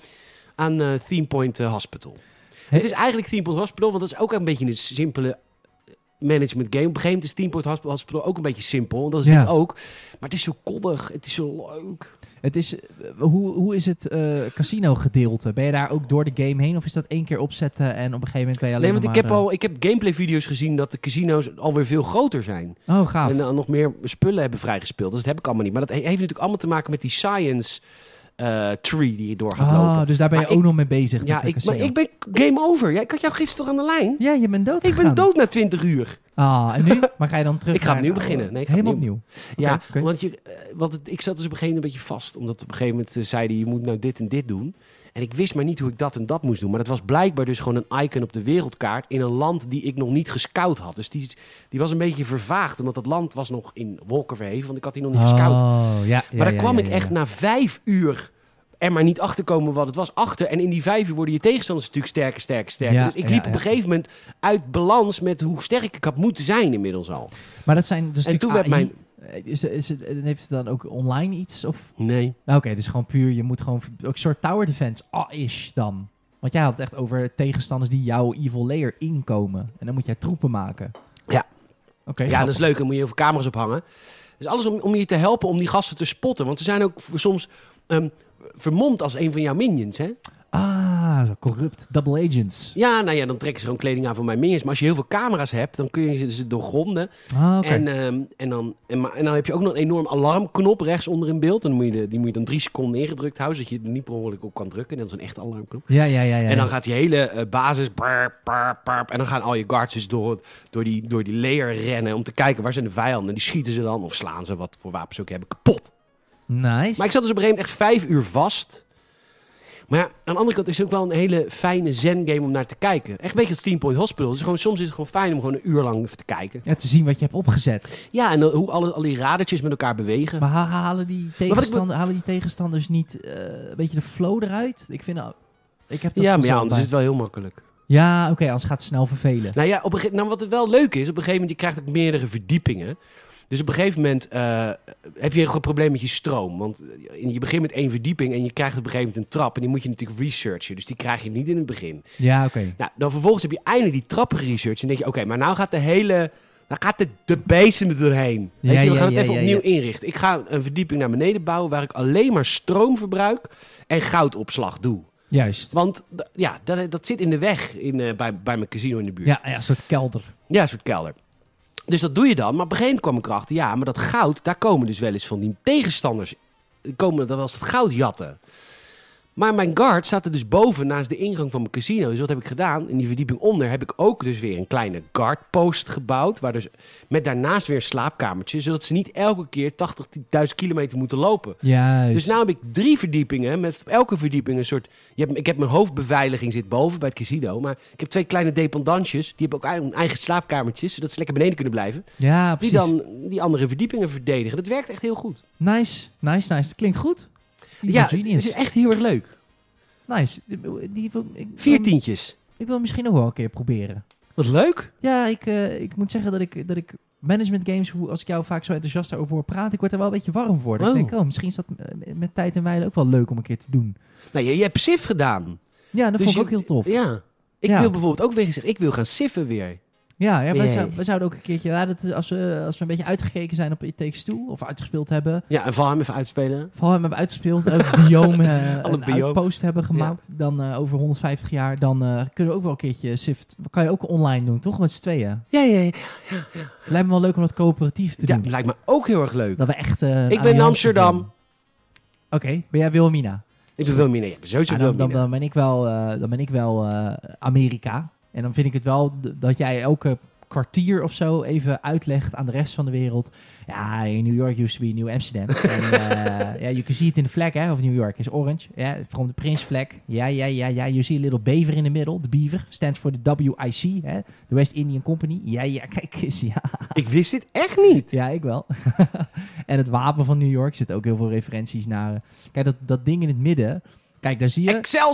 aan eh, Theme Point eh, Hospital. Het is eigenlijk Theme Point Hospital, want dat is ook een beetje een simpele eh, management game. Op een gegeven moment is Theme Point Hosp- Hospital ook een beetje simpel, want dat is
Ja.
dit ook. Maar het is zo koddig, het is zo leuk.
Het is, eh, hoe, hoe is het eh, casino gedeelte? Ben je daar ook door de game heen of is dat één keer opzetten en op een gegeven moment ben je alleen
Nee, want
nog
ik heb
maar, eh,
al ik heb gameplay video's gezien dat de casino's alweer veel groter zijn.
eh, Oh, gaaf.
En dan nog meer spullen hebben vrijgespeeld. Dus dat heb ik allemaal niet. Maar dat he- heeft natuurlijk allemaal te maken met die science eh, tree die je door gaat lopen.
Ah, dus daar ben je
Maar
ook
ik-
nog mee bezig.
Ja,
met de
ik, maar
casino.
ik ben game over. Ja, ik had jou gisteren toch aan de lijn?
Ja, je bent dood
Ik ben
gegaan.
dood na 20 uur.
Ah, en nu? Maar ga je dan terug
Ik ga
naar- Oh,
opnieuw beginnen. Nee, ik ga
Helemaal opnieuw.
ja,
Oké, oké.
want, je, eh, want het- ik zat dus op een gegeven moment een beetje vast. Omdat op een gegeven moment eh, zei hij, je moet nou dit en dit doen. En ik wist maar niet hoe ik dat en dat moest doen. Maar dat was blijkbaar dus gewoon een icon op de wereldkaart... in een land die ik nog niet gescout had. Dus die, die was een beetje vervaagd. Omdat dat land was nog in wolken verheven. Want ik had die nog niet gescout.
Oh, ja, ja,
Maar daar
ja,
kwam
ja,
ik
ja,
echt
ja.
na vijf uur er maar niet achter komen wat het was achter. En in die vijf uur worden je tegenstanders natuurlijk sterker, sterker, sterker.
Ja,
dus ik
ja,
liep
ja.
op een gegeven moment uit balans met hoe sterk ik had moeten zijn inmiddels al.
Maar dat zijn dus
En toen werd mijn...
eh, Is, is het, heeft het dan ook online iets? Of...
Nee.
Nou, oké, dus gewoon puur, je moet gewoon... Ook een soort tower defense, ah-ish dan. Want jij had het echt over tegenstanders die jouw evil layer inkomen. En dan moet jij troepen maken.
Ja.
Oké,
Ja, dus- dat is leuk. Dan moet je heel veel camera's ophangen. Dus alles om, om je te helpen om die gasten te spotten. Want ze zijn ook soms ehm, vermomd als een van jouw minions, hè?
Ah, zo corrupt. Double agents.
Ja, nou ja, dan trekken ze gewoon kleding aan van mijn minions. Maar als je heel veel camera's hebt, dan kun je ze doorgronden.
Ah, oké.
En, ehm, en, dan, en, maar- en dan heb je ook nog een enorm alarmknop rechts onder in beeld. En dan moet je de, die moet je dan drie seconden neergedrukt houden, zodat je er niet per ongeluk op kan drukken. Net als een echte alarmknop.
Ja, ja, ja, ja.
En dan
ja.
gaat die hele eh, basis. brrr, brrr, brrr, en dan gaan al je guards dus door, door, die, door die layer rennen. Om te kijken waar zijn de vijanden. En die schieten ze dan of slaan ze wat voor wapens ze ook hebben kapot.
Nice.
Maar ik zat dus op een gegeven moment echt vijf uur vast. Maar ja, aan de andere kant is het ook wel een hele fijne zen-game om naar te kijken. Echt een beetje als Team Point Hospital. Dus gewoon, soms is het gewoon fijn om gewoon een uur lang even te kijken.
Ja, te zien wat je hebt opgezet.
Ja, en dan hoe alle, al die radertjes met elkaar bewegen.
Maar ha- halen, die
ik
tegenstander, halen die tegenstanders niet eh, een beetje de flow eruit? Ik vind... al- ik heb dat
ja,
soms
maar ja,
al
anders
bij-
is het wel heel makkelijk.
Ja, oké, anders gaat het snel vervelen.
Nou ja, op een gege- nou, wat het wel leuk is, op een gegeven moment, je krijgt ook meerdere verdiepingen. Dus op een gegeven moment eh, heb je een probleem met je stroom. Want eh, je begint met één verdieping en je krijgt op een gegeven moment een trap. En die moet je natuurlijk researchen. Dus die krijg je niet in het begin.
Ja, oké.
Nou, dan vervolgens heb je eindelijk die trap geresearched. En denk je, oké, maar nou gaat de hele... Nou gaat de, de bezem er doorheen.
Ja,
Weet je, we
ja,
gaan het
ja,
even
ja,
opnieuw inrichten. Ik ga een verdieping naar beneden bouwen waar ik alleen maar stroom verbruik en goudopslag doe.
Juist.
Want d- ja, dat, dat zit in de weg in, eh, bij, bij mijn casino in de buurt.
Ja, ja, een soort kelder.
Ja, een soort kelder. Dus dat doe je dan. Maar op een gegeven moment kwam ik erachter. Ja, maar dat goud, daar komen dus wel eens van die tegenstanders. Die komen dan wel eens dat goud jatten. Maar mijn guard staat er dus boven naast de ingang van mijn casino. Dus wat heb ik gedaan? In die verdieping onder heb ik ook dus weer een kleine guardpost gebouwd. Waar dus met daarnaast weer een slaapkamertje. Zodat ze niet elke keer 80.000 kilometer moeten lopen.
Juist.
Dus nu heb ik drie verdiepingen. Met elke verdieping een soort. Je hebt, ik heb mijn hoofdbeveiliging zit boven bij het casino. Maar ik heb twee kleine dependantjes. Die hebben ook eigen- eigen slaapkamertjes. Zodat ze lekker beneden kunnen blijven.
ja,
Die
precies.
dan die andere verdiepingen verdedigen. Dat werkt echt heel goed.
Nice, nice, nice. Dat klinkt goed. Die
ja,
ja,
het is
genius.
echt heel erg leuk.
Nice. Die, die wil, ik,
Vier tientjes.
Ik wil misschien ook wel een keer proberen.
Wat leuk.
Ja, ik, eh, ik moet zeggen dat ik, dat ik management games, hoe, als ik jou vaak zo enthousiast over hoor praten, ik word er wel een beetje warm voor.
Oh.
Ik denk, oh, misschien is dat eh, met tijd en wijle ook wel leuk om een keer te doen.
Nou, je, je hebt sif gedaan.
Ja, dat
Dus
vond ik ook
je-
heel tof. Ja,
Ja. Ik
Ja.
wil bijvoorbeeld ook weer gezegd, ik wil gaan siffen weer.
ja, wij,
Jee.
zou- wij zouden ook een keertje, ja, dat, is als, we, als we een beetje uitgekeken zijn op It Takes Two, of uitgespeeld hebben,
Ja, en val hem even uitspelen.
Vooral hebben we uitgespeeld, ook biome, eh
Alle
een
biome.
outpost hebben gemaakt, dan eh, over 150 jaar, dan eh, kunnen we ook wel een keertje Sift, kan je ook online doen, toch? Met z'n tweeën.
Ja, ja, ja.
Lijkt me wel leuk om dat coöperatief te
Ja,
doen.
lijkt me ook heel erg leuk.
Dat we echt... eh, een
ben in
alliantie
Amsterdam.
vormen. Oké, ben jij Wilhelmina?
Dus Ik ben wel meer. Ja, sowieso
Ja,
wel
Ah, dan, dan, dan ben ik wel, eh, dan ben ik wel eh, Amerika. En dan vind ik het wel d- dat jij elke kwartier of zo even uitlegt aan de rest van de wereld. Ja, in New York used to be New Amsterdam. en, eh, ja, you can see it in the flag, hè, of New York is orange. Ja, from the Prince flag. Ja, ja, ja, ja. You see a little beaver in the middle. De beaver stands for the WIC, hè, the West Indian Company. Ja, ja, kijk eens, ja.
Ik wist dit echt niet.
Ja, ik wel. en het wapen van New York zit ook heel veel referenties naar. eh, Kijk, dat, dat ding in het midden. Kijk, daar zie je...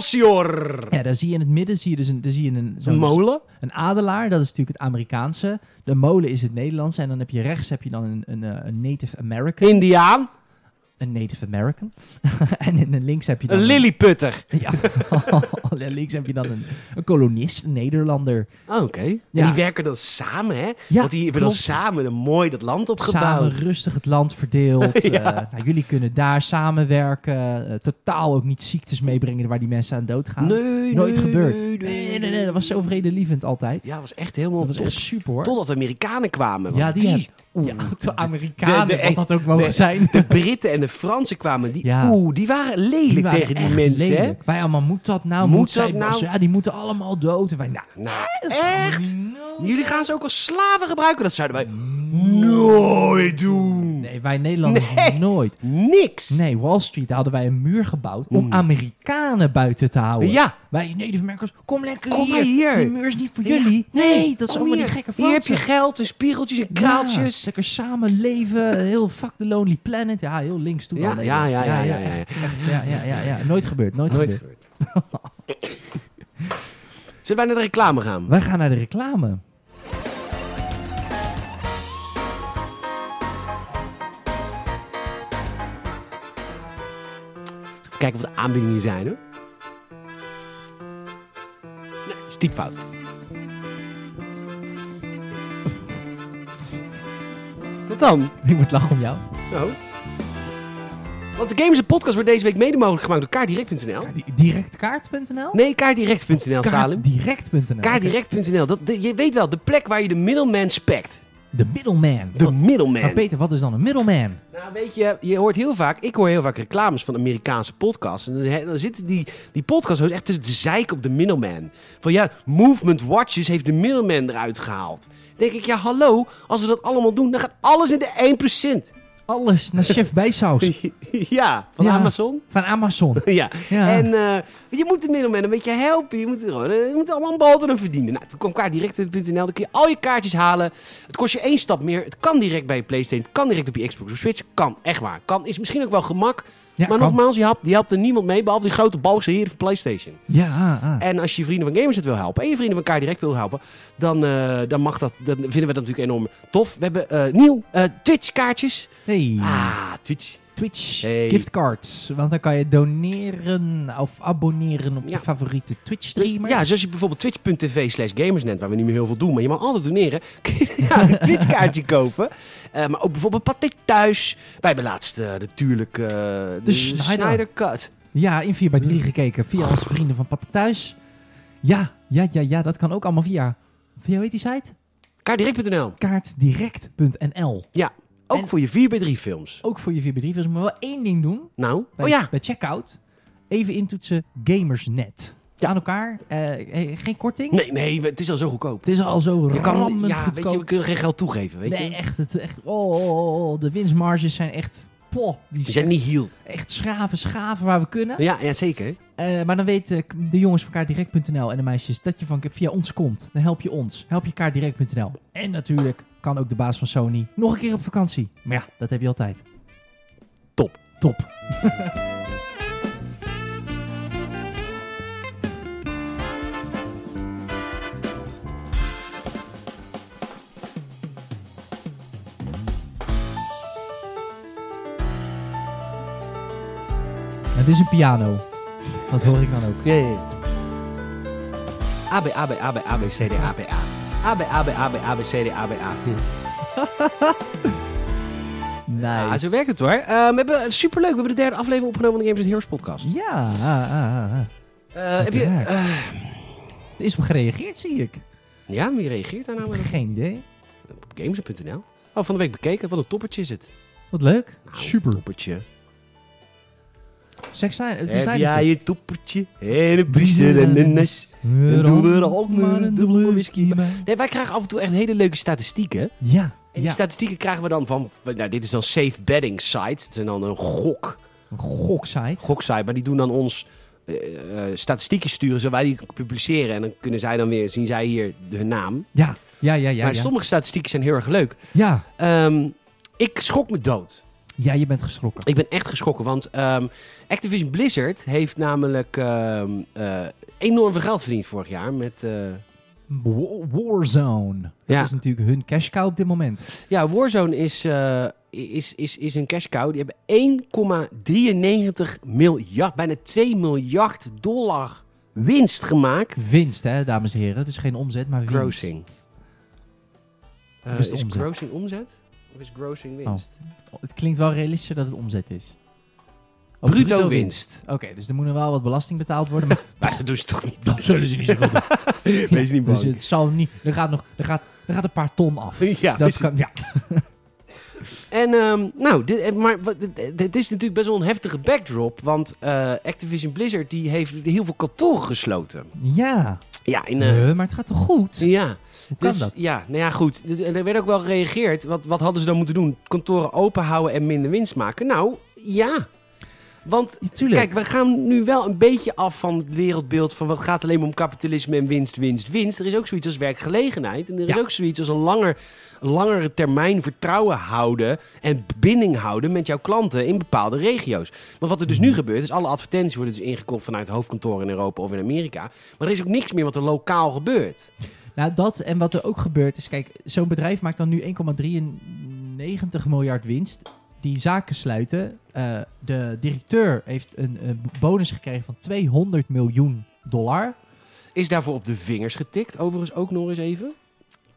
Excelsior!
Ja, daar zie je in het midden zie je dus een, daar zie je een, zo'n- dus
Een molen?
een adelaar, dat is natuurlijk het Amerikaanse. De molen is het Nederlandse. En dan heb je rechts heb je dan een, een, eh, een Native American.
Indiaan?
Een Native American. en, in- en links heb je dan...
Een lilliputter?
Ja, en links heb je dan een, een kolonist, een Nederlander.
Oh, oké. En
Ja.
die werken dan samen, hè?
Ja,
Want die hebben dan
klopt.
samen een mooi dat land
Samen
opgebouwd.
rustig het land verdeeld.
Ja.
Eh, nou, jullie kunnen daar samenwerken. Eh, totaal ook niet ziektes meebrengen waar die mensen aan doodgaan.
Nee,
Nooit
nee,
gebeurd.
nee, nee,
nee, nee, nee, Dat was zo vredelievend altijd.
Ja, was echt helemaal
Dat was
top.
echt super hoor.
Totdat de Amerikanen kwamen.
Ja,
want
die, heb-
oeh,
Ja, de Amerikanen,
Mm. de- de-
wat dat ook mogen
de-
zijn.
De Britten en de Fransen kwamen. Die,
Ja.
Oeh, die waren lelijk
Die waren
tegen die
echt
mensen, hè?
lelijk. Wij allemaal, moet dat nou?
Moet
Moet,
dat
zij-
nou?
Ja, die moeten allemaal dood. En wij, nou,
Nou,
dat is
echt?
allemaal niet
Jullie gaan ze ook als slaven gebruiken? Dat zouden wij nooit doen.
Nee, wij Nederlanders
Nee.
nooit.
Niks.
Nee, Wall Street, daar hadden wij een muur gebouwd om Amerikanen buiten te houden.
Mm. Ja.
Wij Native Americans, kom lekker
Kom
hier.
maar hier.
Die muur is niet voor
Ja.
jullie. Nee, dat is
kom
allemaal
Oh, hier.
die gekke
Hier heb
Fransen.
je geld en spiegeltjes en
Ja,
kraaltjes.
lekker samenleven, heel fuck the lonely planet. Ja, heel links toen
Ja,
al.
ja, ja, ja, ja, ja.
echt, echt, ja, ja, ja, ja. Nooit gebeurd, nooit,
Nooit
gebeurd.
gebeurd. Zullen wij naar de reclame gaan?
Wij gaan naar de reclame.
Even kijken wat de aanbiedingen zijn, hoor. Nee, is typfout. Wat dan?
Ik moet lachen om jou.
Nou. Want de Games en Podcast wordt deze week mede mogelijk gemaakt door kaardirect.nl.
Di- Directkaart.nl?
Nee, kaardirect.nl, Salim.
Kaartdirect.nl.
Kaardirect.nl, dat, de- je weet wel, de plek waar je de middleman spekt.
De middleman.
De
Maar
middleman.
Peter, wat is dan een middleman?
Nou, weet je, je hoort heel vaak, ik hoor heel vaak reclames van Amerikaanse podcasts. En dan, he- dan zitten die, die podcasts echt tussen de zeik op de middleman. Van ja, Movement Watches heeft de middleman eruit gehaald. Dan denk ik, ja hallo, als we dat allemaal doen, dan gaat alles in de
Alles naar Chef Bijsaus
1%. ja, van
Ja.
Amazon.
van Amazon.
ja.
Ja.
en eh, je moet de middleman een beetje helpen. Je moet, er gewoon, eh, je moet allemaal een boter aan verdienen. Nou, toen kwam kaartdirect.nl, dan kun je al je kaartjes halen. Het kost je één stap meer. Het kan direct bij je Playstation, het kan direct op je Xbox of Switch. Kan, echt waar. Kan, is misschien ook wel gemak.
Ja,
maar
kan.
nogmaals, je helpt, je helpt er niemand mee, behalve die grote balse heren van PlayStation.
Ja, ah.
En als je vrienden van gamers het wil helpen en je vrienden van elkaar direct wil helpen, dan, eh, dan mag dat. Dan vinden we dat natuurlijk enorm tof. We hebben eh, nieuw eh, Twitch-kaartjes.
hey.
Ah, Twitch.
Twitch
Hey.
giftcards. Want dan kan je doneren of abonneren op
Ja.
je favoriete Twitch-streamer.
Ja, zoals je bijvoorbeeld twitch.tv slash gamersnet, waar we niet meer heel veel doen, maar je mag altijd doneren, kun je nou een Twitch-kaartje kopen. Eh, maar ook bijvoorbeeld Pathé Thuis. Wij hebben laatst eh, natuurlijk eh, de,
Snyder.
Cut.
Ja, in 4 bij 3 gekeken via onze vrienden van Patten Thuis. Ja, ja, ja, ja, dat kan ook allemaal via, via hoe heet die site?
Kaardirect.nl.
Kaartdirect.nl.
Ook
En-
voor je 4x3 films.
Ook voor je 4 bij 3 films. Maar wel één ding doen
Nou,
bij,
oh ja.
bij checkout. Even intoetsen Gamersnet.
Ja.
Aan elkaar. eh, eh, geen korting.
Nee, nee, het is al zo goedkoop.
Het is al zo
Je kan,
rammend
ja, weet je,
goedkoop.
we kunnen geen geld toegeven, weet
nee,
je.
echt. Het, echt oh, oh, oh, de winstmarges zijn echt... Poh, die
We
zijn
zijn Dus niet heel.
echt schaven, schaven waar we kunnen.
Ja, ja zeker.
Eh, maar dan weten de jongens van kaartdirect.nl en de meisjes dat je van, via ons komt. Dan help je ons. Help je kaartdirect.nl. En natuurlijk kan ook de baas van Sony nog een keer op vakantie. Maar ja, dat heb je altijd.
Top.
Top. Het is een piano. Dat hoor ik dan ook.
Ja, ja, ja. A, B, A, B, A, B, A, B, C, D, A, B, A. A, B, A, B, A, B, A, B, C, D, A, B, A. Hm.
Nice.
Ja, zo werkt het hoor. Eh, we hebben, superleuk, we hebben de derde aflevering opgenomen van de Games Heroes podcast.
Ja. ah, ah, ah, ah.
Eh, heb je,
Uiteraard.
eh,
Er is op gereageerd, zie ik.
ja, wie reageert daar nou
Ik
maar
heb geen idee.
op? Op Games.nl. Oh, van de week bekeken. Wat een toppertje is het.
Wat leuk.
Nou,
Super.
Toppertje.
Zeg, zijn het
Heb
zijn
jij
er-
je toppertje en een briezer en een nes.
Een
doe er
rand,
ook maar een
dubbele
dubbele whisky
bij.
Nee, wij krijgen af en toe echt hele leuke statistieken. En
Ja.
die
ja.
statistieken krijgen we dan van... Nou, dit is dan safe betting sites. Het zijn dan een gok.
Een goksite.
goksite, maar die doen dan ons eh, eh, statistieken sturen, zodat wij die publiceren. En dan kunnen zij dan weer, zien zij hier hun naam.
Ja. Ja, ja, ja.
maar
Ja.
sommige statistieken zijn heel erg leuk.
ja.
Ehm, ik schrok me dood.
Ja, je bent geschrokken.
Ik ben echt geschrokken, want ehm, Activision Blizzard heeft namelijk ehm, eh, enorm veel geld verdiend vorig jaar. Met, eh,
Wa- Warzone.
Ja.
Dat is natuurlijk hun cash cow op dit moment.
ja, Warzone is, eh, is, is, is een cash cow. Die hebben 1,93 miljard, bijna 2 miljard dollar winst gemaakt.
Winst, hè, dames en heren. Het is geen omzet, maar winst.
Grossing. Eh,
Of is
is
het omzet?
grossing omzet? Oh. Of is grossing winst?
Het klinkt wel realistischer dat het omzet is. Oh,
Bruto, winst.
Oké, dus er moet nog wel wat belasting betaald worden. Maar
Maar dat doen ze toch niet?
dan zullen ze niet zoveel doen.
Wees niet
Dus
bang.
het zal niet... Er gaat, nog, er gaat, er gaat een paar ton af.
Ja,
dat
dus-
kan, ja.
en ehm, nou, dit, eh, maar wat- dit- dit- dit is natuurlijk best wel een heftige backdrop, want eh, Activision Blizzard die heeft heel veel kantoren gesloten.
Ja.
Ja, in, eh,
Nee, maar het gaat toch goed?
ja.
Hoe kan
Dus,
dat?
Ja, nou ja, goed. Dus, en Er werd ook wel gereageerd. Wat, wat hadden ze dan moeten doen? Kantoren open houden en minder winst maken? Nou, ja. Want
Ja, tuurlijk.
Kijk, we gaan nu wel een beetje af van het wereldbeeld van wat gaat alleen maar om kapitalisme en winst, winst, winst. Er is ook zoiets als werkgelegenheid en er is
Ja.
ook zoiets als een langer, langere termijn vertrouwen houden en binding houden met jouw klanten in bepaalde regio's. Maar wat er
Hmm.
dus nu gebeurt, is alle advertenties worden dus ingekocht vanuit hoofdkantoren in Europa of in Amerika. Maar er is ook niks meer wat er lokaal gebeurt.
Nou, dat en wat er ook gebeurt is, kijk, zo'n bedrijf maakt dan nu 1,93 miljard winst. Die zaken sluiten. Eh, de directeur heeft een, eh, bonus gekregen van 200 miljoen dollar.
Is daarvoor op de vingers getikt, overigens ook nog eens even,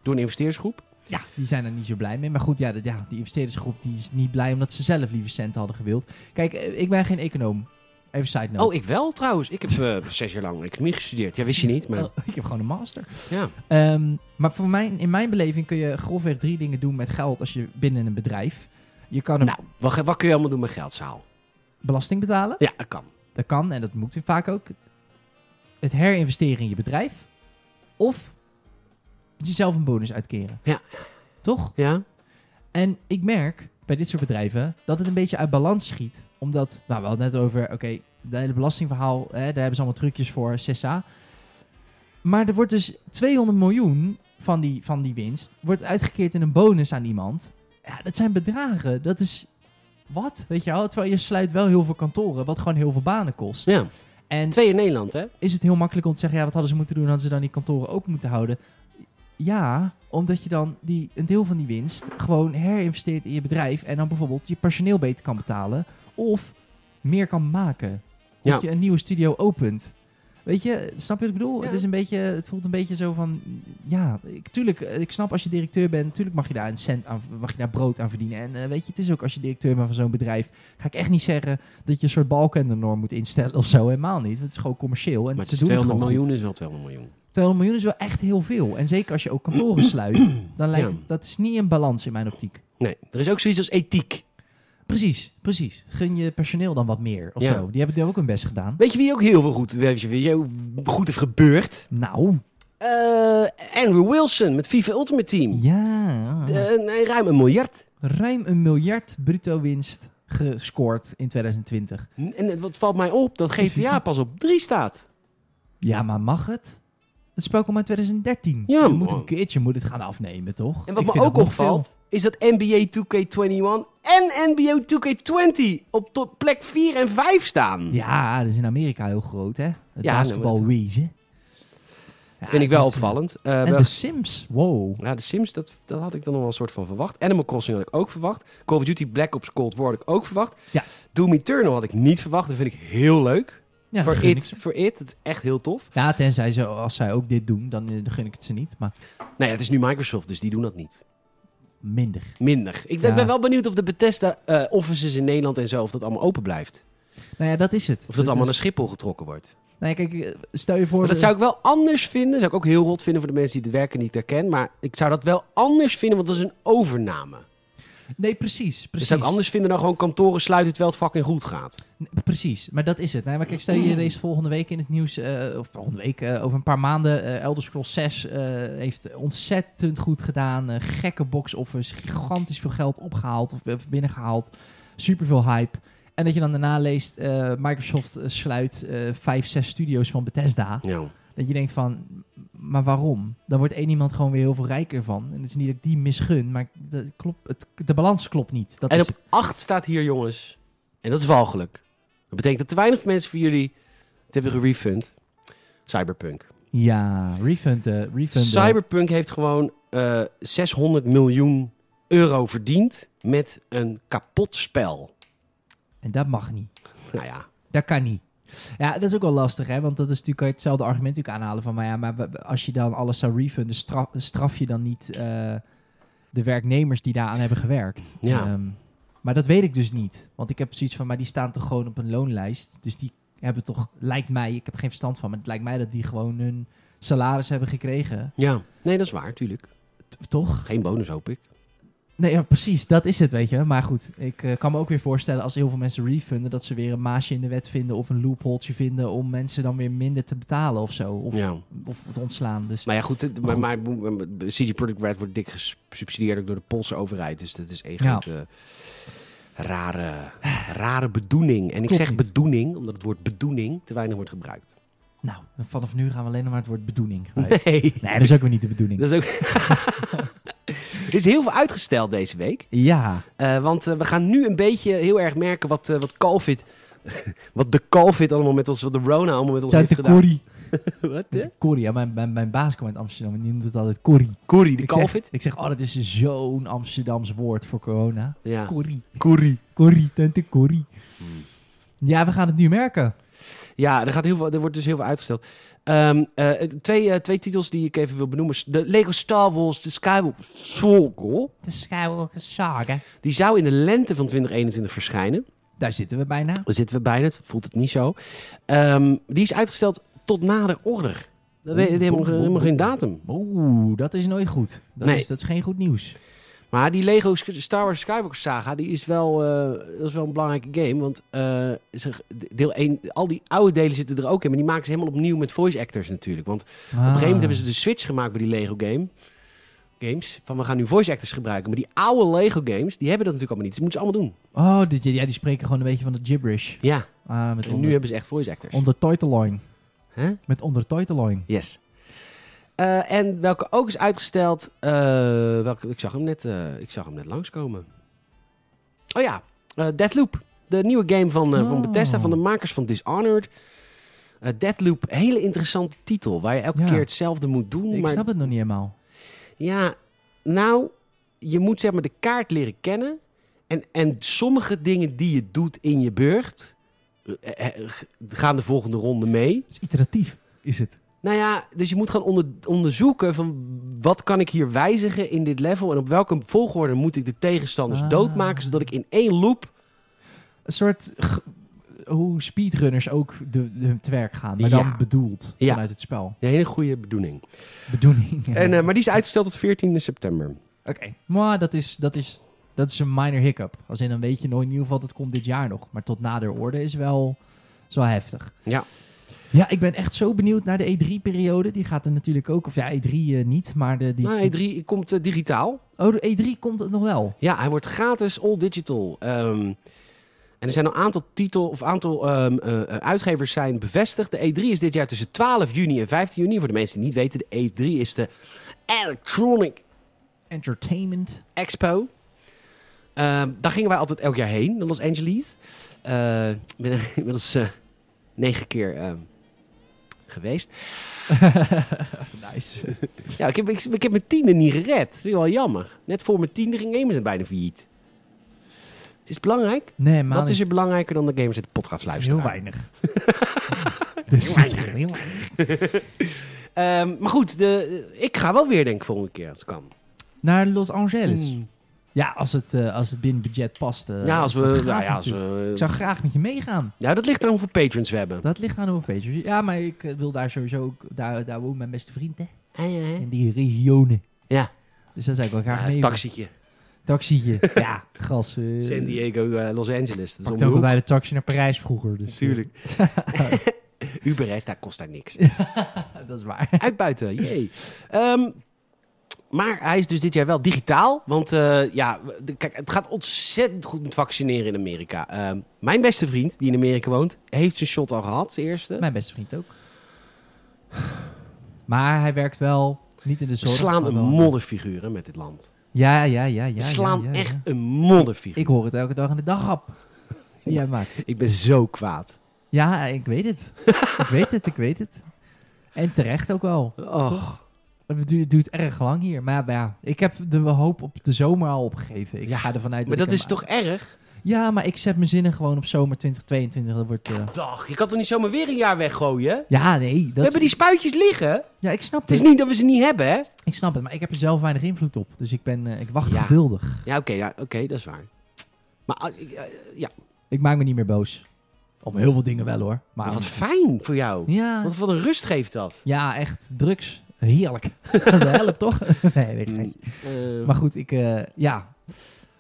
door een investeersgroep.
Ja, die zijn er niet zo blij mee. Maar goed, ja, dat- ja die investeerdersgroep die is niet blij omdat ze zelf liever centen hadden gewild. Kijk, eh, ik ben geen econoom. Even side note.
Oh, ik wel trouwens. Ik heb eh, zes jaar lang economie gestudeerd. Ja, wist je niet, maar
Oh, ik heb gewoon een master.
ja.
Ehm, maar voor mijn, in mijn beleving kun je grofweg drie dingen doen met geld als je binnen een bedrijf. Je kan een
Nou, wat, wat kun je allemaal doen met geldzaal?
belasting betalen.
Ja, dat kan.
Dat kan en dat moet je vaak ook. Het herinvesteren in je bedrijf. Of jezelf een bonus uitkeren.
Ja.
Toch?
Ja?
En ik merk bij dit soort bedrijven dat het een beetje uit balans schiet. Omdat, nou, we hadden het net over, oké, het hele belastingverhaal, hè, daar hebben ze allemaal trucjes voor, CSA. Maar er wordt dus 200 miljoen van die, van die winst wordt uitgekeerd in een bonus aan iemand. Ja, dat zijn bedragen. Dat is Wat? Weet je wel? Terwijl je sluit wel heel veel kantoren, wat gewoon heel veel banen kost.
Ja.
En
Twee in Nederland, hè?
is het heel makkelijk om te zeggen, ja, wat hadden ze moeten doen? Hadden ze dan die kantoren ook moeten houden? Ja, omdat je dan die, een deel van die winst gewoon herinvesteert in je bedrijf en dan bijvoorbeeld je personeel beter kan betalen of meer kan maken. Dat
Ja.
je een nieuwe studio opent. Weet je, snap je wat ik bedoel?
Ja.
Het, is een beetje, het voelt een beetje zo van, ja, ik, tuurlijk, eh, ik snap als je directeur bent, tuurlijk mag je daar een cent aan, mag je daar brood aan verdienen. En eh, weet je, het is ook als je directeur bent van zo'n bedrijf, ga ik echt niet zeggen dat je een soort balkennorm moet instellen of zo. Helemaal niet. Het is gewoon commercieel. En
Maar het
ze
is
doen het
200
gewoon
miljoen
goed.
is wel 200 miljoen.
200 miljoen is wel echt heel veel. En zeker als je ook kantoren sluit, dan lijkt
Ja.
het, dat is niet een balans in mijn optiek.
Nee, er is ook zoiets als ethiek.
Precies, precies. Gun je personeel dan wat meer of
Ja.
zo. Die hebben het ook hun best gedaan.
Weet je wie ook heel veel goed, weet je wie heel goed heeft gebeurd?
Nou,
Eh, Andrew Wilson met FIFA Ultimate Team.
ja.
Eh, nee, ruim een miljard.
Ruim een miljard bruto winst gescoord in 2020.
En het- wat valt mij op, dat GTA
FIFA.
pas op 3 staat.
Ja, maar mag het? Het spel komt uit 2013.
Ja,
je moet
man.
een keertje moet het gaan afnemen, toch?
En wat
Ik
me
vind
ook
dat nog
opvalt, is dat NBA 2K21 en NBA 2K20 op tot plek 4 en 5 staan.
veel. Ja, dat is in Amerika heel groot, hè? Het
Ja,
basketbalwezen. Ja,
Vind ik wel
het is-
opvallend. Eh,
En
wel-
The Sims, wow.
Ja, de Sims, dat, dat had ik dan nog wel een soort van verwacht. Animal Crossing had ik ook verwacht. Call of Duty Black Ops Cold War had ik ook verwacht.
Ja.
Doom Eternal had ik niet verwacht. Dat vind ik heel leuk.
Ja,
Voor
dat gun
it,
ik.
voor it. Het is echt heel tof.
Ja, tenzij ze, als zij ook dit doen, dan eh, gun ik het ze niet. Maar
Nou ja, het is nu Microsoft, dus die doen dat niet.
minder.
Minder. Ik
Ja.
ben wel benieuwd of de Bethesda eh, offices in Nederland en zo, of dat allemaal open blijft.
Nou ja, dat is het.
Of dat allemaal naar
is...
Schiphol getrokken wordt.
Nee, kijk, eh, stel je voor...
Maar dat zou ik wel anders vinden. Zou ik ook heel rot vinden voor de mensen die het werken niet herkennen. Maar ik zou dat wel anders vinden, want dat is een overname.
Nee, precies,
Dus
precies.
zou ik anders vinden dan gewoon kantoren sluiten terwijl het fucking goed gaat.
Nee, Precies, maar dat is het. Nee, maar kijk, stel je deze volgende week in het nieuws, eh, of volgende week, eh, over een paar maanden, eh Elder Scrolls 6 eh, heeft ontzettend goed gedaan. Eh, gekke box-offers, gigantisch veel geld opgehaald of eh, binnengehaald. Superveel hype. En dat je dan daarna leest, eh, Microsoft eh, sluit eh, vijf, zes studio's van Bethesda.
Ja.
Dat je denkt van, maar waarom? Dan wordt één iemand gewoon weer heel veel rijker van. En het is niet dat ik die misgun, maar dat klopt, het, de balans klopt niet. Dat
en
is
op 8 staat hier, jongens. En dat is walgelijk. Dat betekent dat te weinig mensen voor jullie het hebben gerefund. Cyberpunk.
Ja, refund. eh, refund eh.
Cyberpunk heeft gewoon eh, 600 miljoen euro verdiend met een kapot spel.
En dat mag niet.
Nou ja,
Dat kan niet. Ja, dat is ook wel lastig, hè? Want dat is natuurlijk kan je hetzelfde argument natuurlijk aanhalen van... Maar ja, maar w- als je dan alles zou refunden, straf, straf je dan niet eh, de werknemers die daaraan hebben gewerkt.
Ja.
Ehm, maar dat weet ik dus niet. Want ik heb zoiets van, maar die staan toch gewoon op een loonlijst. Dus die hebben toch, lijkt mij, ik heb geen verstand van... maar het lijkt mij dat die gewoon hun salaris hebben gekregen.
ja. Nee, dat is waar, tuurlijk.
T- toch?
Geen bonus, hoop ik.
Nee, ja, precies. Dat is het, weet je. Maar goed, ik eh, kan me ook weer voorstellen als heel veel mensen refunden... dat ze weer een maasje in de wet vinden of een loopholtje vinden... om mensen dan weer minder te betalen of zo. Of,
Ja.
of te ontslaan. Dus
Maar ja, goed, het-
Maar
maar, eh,
goed.
maar, maar- CD Projekt Red wordt dik gesubsidieerd ook door de Poolse overheid. Dus dat is echt
Ja.
rare, rare bedoeling. En ik
Klopt
zeg
niet.
bedoeling, omdat het woord bedoeling te weinig wordt gebruikt.
nou, vanaf nu gaan we alleen nog maar het woord bedoeling gebruiken.
Nee.
Nee, dat is ook weer niet de bedoeling.
Dat is ook... er is heel veel uitgesteld deze week.
Ja,
Eh, want eh, we gaan nu een beetje heel erg merken wat, eh, wat COVID... wat de COVID allemaal met ons... Wat de Rona allemaal met ons heeft
tante
gedaan.
Corrie.
Wat, hè?
Corrie, ja, mijn, mijn, mijn baas kwam uit Amsterdam en die noemt het altijd Corrie.
Corrie, de
ik, zeg,
COVID.
ik zeg, oh, dat is zo'n Amsterdams woord voor corona.
Ja.
Corrie.
Corrie. Hmm.
Corrie, tante Corrie. Ja, we gaan het nu merken.
Ja, er, gaat heel veel, er wordt dus heel veel uitgesteld. Ehm, eh, twee, eh, twee titels die ik even wil benoemen. De Lego Star Wars The Skywalker Saga.
De Skywalker Saga.
Die zou in de lente van 2021 verschijnen.
Daar zitten we bijna.
Daar zitten we bijna, het voelt het niet zo. Ehm, die is uitgesteld tot nader order. Dat weet- die hebben nog helemaal geen datum.
Oeh, dat is nooit goed. Dat,
Nee.
is, dat is geen goed nieuws.
Maar die Lego Sk- Star Wars Skywalker saga, die is wel, eh, dat is wel een belangrijke game. Want eh, zeg, deel 1, al die oude delen zitten er ook in. Maar die maken ze helemaal opnieuw met voice actors natuurlijk. Want op
Op
een gegeven moment hebben ze de switch gemaakt bij die Lego game. Games, van we gaan nu voice actors gebruiken. Maar die oude Lego games, die hebben dat natuurlijk allemaal niet. Dus moeten ze allemaal doen.
Oh, dit, ja, die spreken gewoon een beetje van de gibberish.
Ja,
Ah, met
en
onder,
nu hebben ze echt voice actors.
ondertiteling.
Hè?
Met ondertiteling.
Yes. Eh, en welke ook is uitgesteld. eh, welke, ik, zag hem net, eh, ik zag hem net langskomen. Oh ja, Eh, Deathloop, de nieuwe game van, eh, van
Oh.
Bethesda, van de makers van Dishonored. Eh, Deathloop, hele interessante titel, waar je elke
Ja.
keer hetzelfde moet doen.
Ik
maar
snap het nog niet helemaal.
ja, nou, je moet zeg maar de kaart leren kennen. En, en sommige dingen die je doet in je beurt, eh, eh, g- gaan de volgende ronde mee.
Het is iteratief, is het.
Nou ja, dus je moet gaan onder, onderzoeken van wat kan ik hier wijzigen in dit level en op welke volgorde moet ik de tegenstanders
Ah.
doodmaken zodat ik in één loop
Een soort g- hoe speedrunners ook de, de, te werk gaan, maar
Ja.
dan bedoeld
Ja.
vanuit het spel.
een hele goede bedoeling.
Bedoeling.
En, eh, maar die is uitgesteld tot 14 september.
Oké. Maar dat is, dat, is, dat is een minor hiccup. Als in, dan weet je nooit in ieder geval, dat komt dit jaar nog. Maar tot nader orde is wel, is wel heftig.
Ja.
Ja, ik ben echt zo benieuwd naar de E3-periode. Die gaat er natuurlijk ook, of ja, E3 eh, niet, maar de... Die,
Nou, E3 komt eh, digitaal.
Oh, de E3 komt het nog wel.
Ja, hij wordt gratis all digital. Ehm, en er zijn een aantal titel of aantal ehm, eh, eh, uitgevers zijn bevestigd. De E3 is dit jaar tussen 12 juni en 15 juni. Voor de mensen die niet weten, de E3 is de Electronic
Entertainment.
Expo. Ehm, daar gingen wij altijd elk jaar heen, naar Los Angeles. Eh, ik ben er inmiddels eh, negen keer ehm, geweest.
Nice.
Ja, ik heb, ik, ik heb mijn tiende niet gered. Dat vind ik wel jammer. Net voor mijn tiende ging Gamers bijna failliet. Het is belangrijk.
Nee, maar
Wat is er belangrijker dan de Gamers in de podcast luisteren?
heel weinig. dus dat is heel weinig.
Ehm, maar goed, de, eh, ik ga wel weer, denk ik, volgende keer als het kan.
Naar Los Angeles.
Mm.
Ja, als het, eh, als het binnen budget past. eh,
ja, als
is
we.
dat gaaf
nou ja, als
natuurlijk.
we
Ik zou graag met je meegaan.
ja, dat ligt aan hoeveel patrons we hebben.
Dat ligt aan hoe een beetje. Ja, maar ik eh, wil daar sowieso ook... Daar, daar woont mijn beste vriend, hè.
Een
In die regionen.
Ja.
Dus daar zou ik wel graag mee.
taxietje.
Taxietje. ja, gas. eh,
San Diego, eh, Los Angeles. Dat is
Pakte ook
onbehoed.
altijd de taxi naar Parijs vroeger. Dus, eh,
Natuurlijk. Uber is, daar kost daar niks.
eh, dat is waar.
Uitbuiten, jee. Ehm, maar hij is dus dit jaar wel digitaal. Want eh, ja, de- kijk, het gaat ontzettend goed met vaccineren in Amerika. Ehm, mijn beste vriend, die in Amerika woont, heeft zijn shot al gehad, zijn eerste.
Mijn beste vriend ook. Maar hij werkt wel niet in de
We
zorg.
slaan
maar
een
wel-
modderfiguur hè, met dit land.
Ja, ja, ja. ja
We slaan
ja, ja, ja.
echt een modderfiguur.
Ik hoor het elke dag in de dagrap. Die jij maakt.
Ik ben zo kwaad.
Ja, ik weet het. ik weet het, ik weet het. En terecht ook wel.
Toch?
Het du- het duurt erg lang hier. Maar ja, ik heb de hoop op de zomer al opgegeven. Ik
Ja,
ga ervan uit
Maar
dat
dat
ik
is
hem-
toch erg?
Ja, maar ik zet mijn zinnen gewoon op zomer 2022. Dat wordt... eh,
Dag, je kan toch niet zomaar weer een jaar weggooien?
Ja, nee. Dat...
We hebben die spuitjes liggen.
Ja, ik snap
Het is
het.
niet dat we ze niet hebben, hè?
Ik snap het, maar ik heb er zelf weinig invloed op. Dus ik, ben, eh, ik wacht
Ja.
geduldig.
Ja, oké, ja, oké, dat is waar. Maar ah, ik, eh, ja,
Ik maak me niet meer boos. Om heel veel dingen wel hoor. Maar
wat fijn voor jou.
ja,
Wat, wat een rust geeft dat.
ja, echt. Drugs. Heerlijk. dat helpt toch? nee, weet ik niet.
Eh,
Maar goed, ik... eh, ja.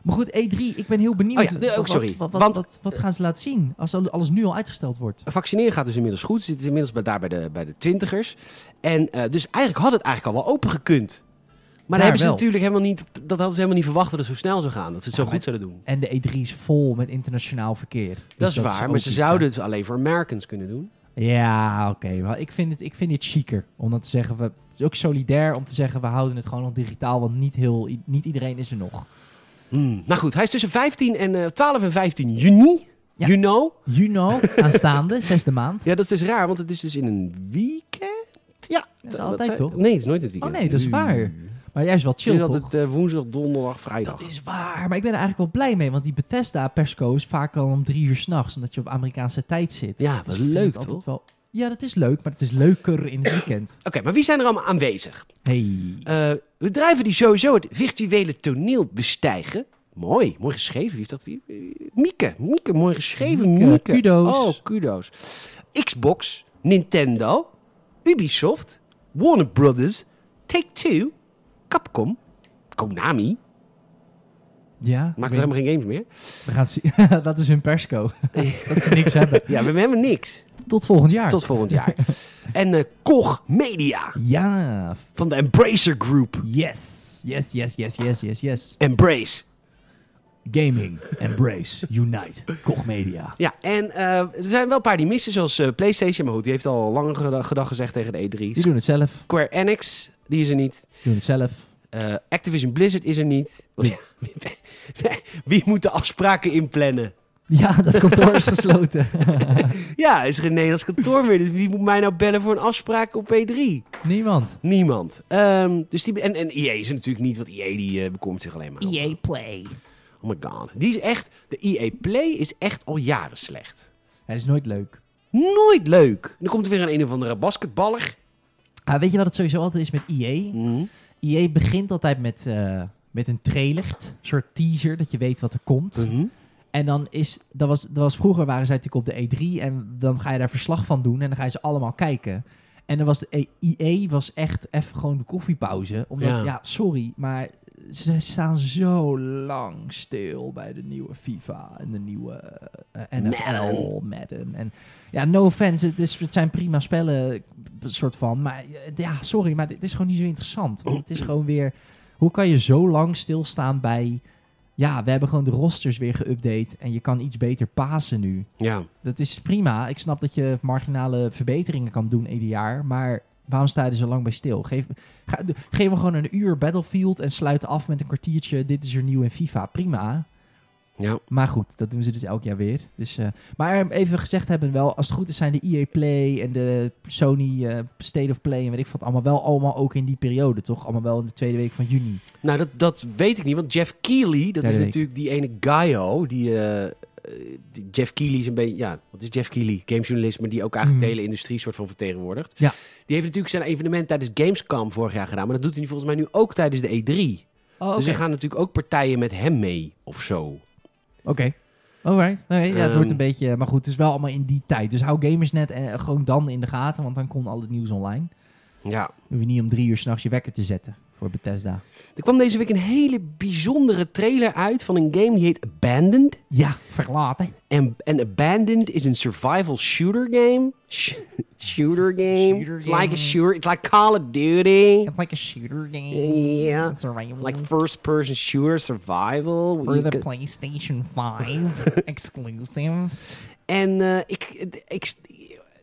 Maar goed, E3, ik ben heel benieuwd.
Oh ja, nee, ook
Wat-
sorry.
Wat, wat,
Want-
wat, wat gaan ze laten zien als al- alles nu al uitgesteld wordt?
Vaccineren gaat dus inmiddels goed. Zit inmiddels bij, daar bij de, bij de twintigers. En eh, dus eigenlijk had het eigenlijk al wel open gekund. Maar
Daar
daar hebben ze
wel.
natuurlijk helemaal niet, dat hadden ze helemaal niet verwacht dat het zo snel zou gaan. Dat ze het zo
Ja,
goed
maar-
zouden doen.
En de E3 is vol met internationaal verkeer. Dus
Dat is
ook
waar, maar ze
iets,
zouden het alleen voor Americans kunnen doen.
hè. Ja, oké. maar ik vind, het, ik vind het chiquer. Om dat te zeggen, we, het is ook solidair om te zeggen... we houden het gewoon nog digitaal, want niet, heel, i- niet iedereen is er nog.
Nou goed, hij is tussen 15 en, eh, 12 en 15 juni.
Ja.
You know?
Juno, aanstaande, zesde maand.
Ja, dat is dus raar, want het is dus in een weekend. Ja,
Dat is altijd,
zei-
toch?
Nee, het is nooit het weekend.
Oh nee, dat is waar. Maar juist wel
Het
chill,
is
toch?
altijd eh, woensdag, donderdag, vrijdag.
Dat is waar, maar ik ben er eigenlijk wel blij mee. Want die Bethesda-persco is vaak al om drie uur s'nachts, omdat je op Amerikaanse tijd zit.
Ja, wat
Dus ik vind
leuk,
het altijd
toch?
Wel... Ja, dat is leuk, maar het is leuker in het weekend.
Oké, maar wie zijn er allemaal aanwezig?
Hey.
Eh, bedrijven die sowieso het virtuele toneel bestijgen. Mooi, mooi geschreven. Wie is dat? Wie? Eh, Mieke, Mieke, mooi geschreven. Mieke.
Mieke, kudo's.
Oh, kudo's. Xbox, Nintendo, Ubisoft, Warner Brothers, Take-Two, Capcom, Konami.
Ja,
Maakt
ik
er helemaal geen games meer.
weet- we gaan het zien. dat is hun persco. dat ze niks hebben.
Ja, we hebben niks.
Tot volgend jaar.
Tot volgend jaar. En eh Koch Media
Ja, f-
van de Embracer Group.
yes. Yes, yes, yes, yes, yes, yes.
Embrace.
Gaming, embrace, unite, Koch Media.
Ja, en eh, er zijn wel een paar die missen, zoals eh, PlayStation. Maar goed, die heeft al lang geda- gedag gezegd tegen de
Die
E3.
doen het zelf.
Square Enix, die is er niet.
Die doen het zelf.
Eh, Activision Blizzard is er niet. Want ja, wie- Wie moet de afspraken inplannen?
Ja, dat kantoor is gesloten.
Ja, is er geen Nederlands kantoor meer. Dus wie moet mij nou bellen voor een afspraak op E3?
Niemand.
Niemand. Ehm, dus die, en, en EA is er natuurlijk niet, want EA die eh, bekomt zich alleen maar. om-
EA Play.
Oh my god. Die is echt, de EA Play is echt al jaren slecht.
Het is nooit leuk.
Nooit leuk. En dan komt er weer een een of andere basketballer.
Ah, weet je wat het sowieso altijd is met EA? EA begint altijd met, eh, met een trailer, een soort teaser, dat je weet wat er komt.
Mhm.
En dan is, dat was, dat was vroeger, waren zij natuurlijk op de E3 en dan ga je daar verslag van doen en dan ga je ze allemaal kijken. En dan was de IE was echt even gewoon de koffiepauze. Omdat,
Ja.
ja, sorry, maar ze staan zo lang stil bij de nieuwe FIFA en de nieuwe eh, NFL,
Madden.
Madden. En ja, no offense, het, is, het zijn prima spellen, eh, soort van. Maar eh, ja, sorry, maar dit is gewoon niet zo interessant. Want het is gewoon weer, hoe kan je zo lang stilstaan bij... Ja, we hebben gewoon de rosters weer geüpdate en je kan iets beter pasen nu.
Ja.
Dat is prima. Ik snap dat je marginale verbeteringen kan doen ieder jaar. Maar waarom sta je er zo lang bij stil? Geef, ga, de- geef me gewoon een uur Battlefield en sluit af met een kwartiertje. Dit is er nieuw in FIFA. Prima.
Ja.
Maar goed, dat doen ze dus elk jaar weer. Dus, eh, maar even gezegd hebben wel, als het goed is zijn de EA Play en de Sony eh, State of Play en weet ik wat allemaal wel allemaal ook in die periode, toch? Allemaal wel in de tweede week van juni.
Nou, dat, dat weet ik niet, want Jeff Keighley, dat is
Ja, weet ik.
natuurlijk die ene Gaio, die, eh, eh, die- Jeff Keighley is een beetje, ja, wat is Jeff Keighley? Gamejournalist, maar die ook eigenlijk de
Mhm.
hele industrie soort van vertegenwoordigt.
Ja.
Die heeft natuurlijk zijn evenement tijdens Gamescom vorig jaar gedaan, maar dat doet hij volgens mij nu ook tijdens de E3.
Oh, oké.
Dus er gaan natuurlijk ook partijen met hem mee of zo.
Oké. Alright. Oké, ja, het
Ehm.
wordt een beetje... Maar goed, het is wel allemaal in die tijd. Dus hou Gamersnet en gewoon dan in de gaten, want dan kon al het nieuws online.
Ja.
Dan hoef je niet om drie uur s'nachts je wekker te zetten voor Bethesda.
Er kwam deze week een hele bijzondere trailer uit van een game die heet Abandoned.
Ja, verlaten.
En, en Abandoned is een survival shooter game. Sh- shooter game.
Shooter
it's like a
game.
shooter. It's like Call of Duty.
It's like a shooter game.
Yeah.
It's survival.
Like first person shooter survival.
for
You
the
could-
PlayStation 5 exclusive.
En eh, ik, ik,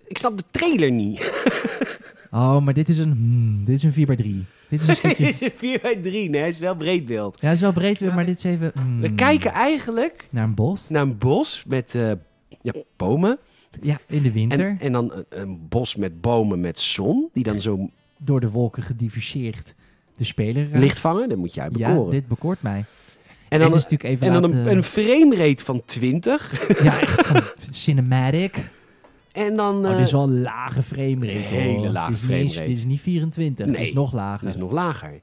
ik snap de trailer niet.
Oh, maar dit is een... hmm, dit is een 4x3. Dit is een
Het
stukje...
is een 4 bij 3, nee, het is wel breed beeld.
ja, het is wel breed weer, maar dit is even... hmm,
We kijken eigenlijk
Naar een bos.
naar een bos met eh, ja, bomen.
Ja, in de winter.
En, en dan een, een bos met bomen met zon, die dan zo
door de wolken gediffuseerd. De speler... raakt.
licht vangen. Dat moet jij
Ja,
bekoren.
dit bekoort mij.
en
dit
dan,
is eh, natuurlijk even
en dan
laten-
een, een framerate van 20.
Ja, echt van cinematic.
En dan...
Oh,
eh,
dit is wel een lage framerate.
Een
hoor.
hele lage
Dit is niet eens-
framerate.
Dit is niet 24, dit
Nee,
is nog lager.
dat is nog lager.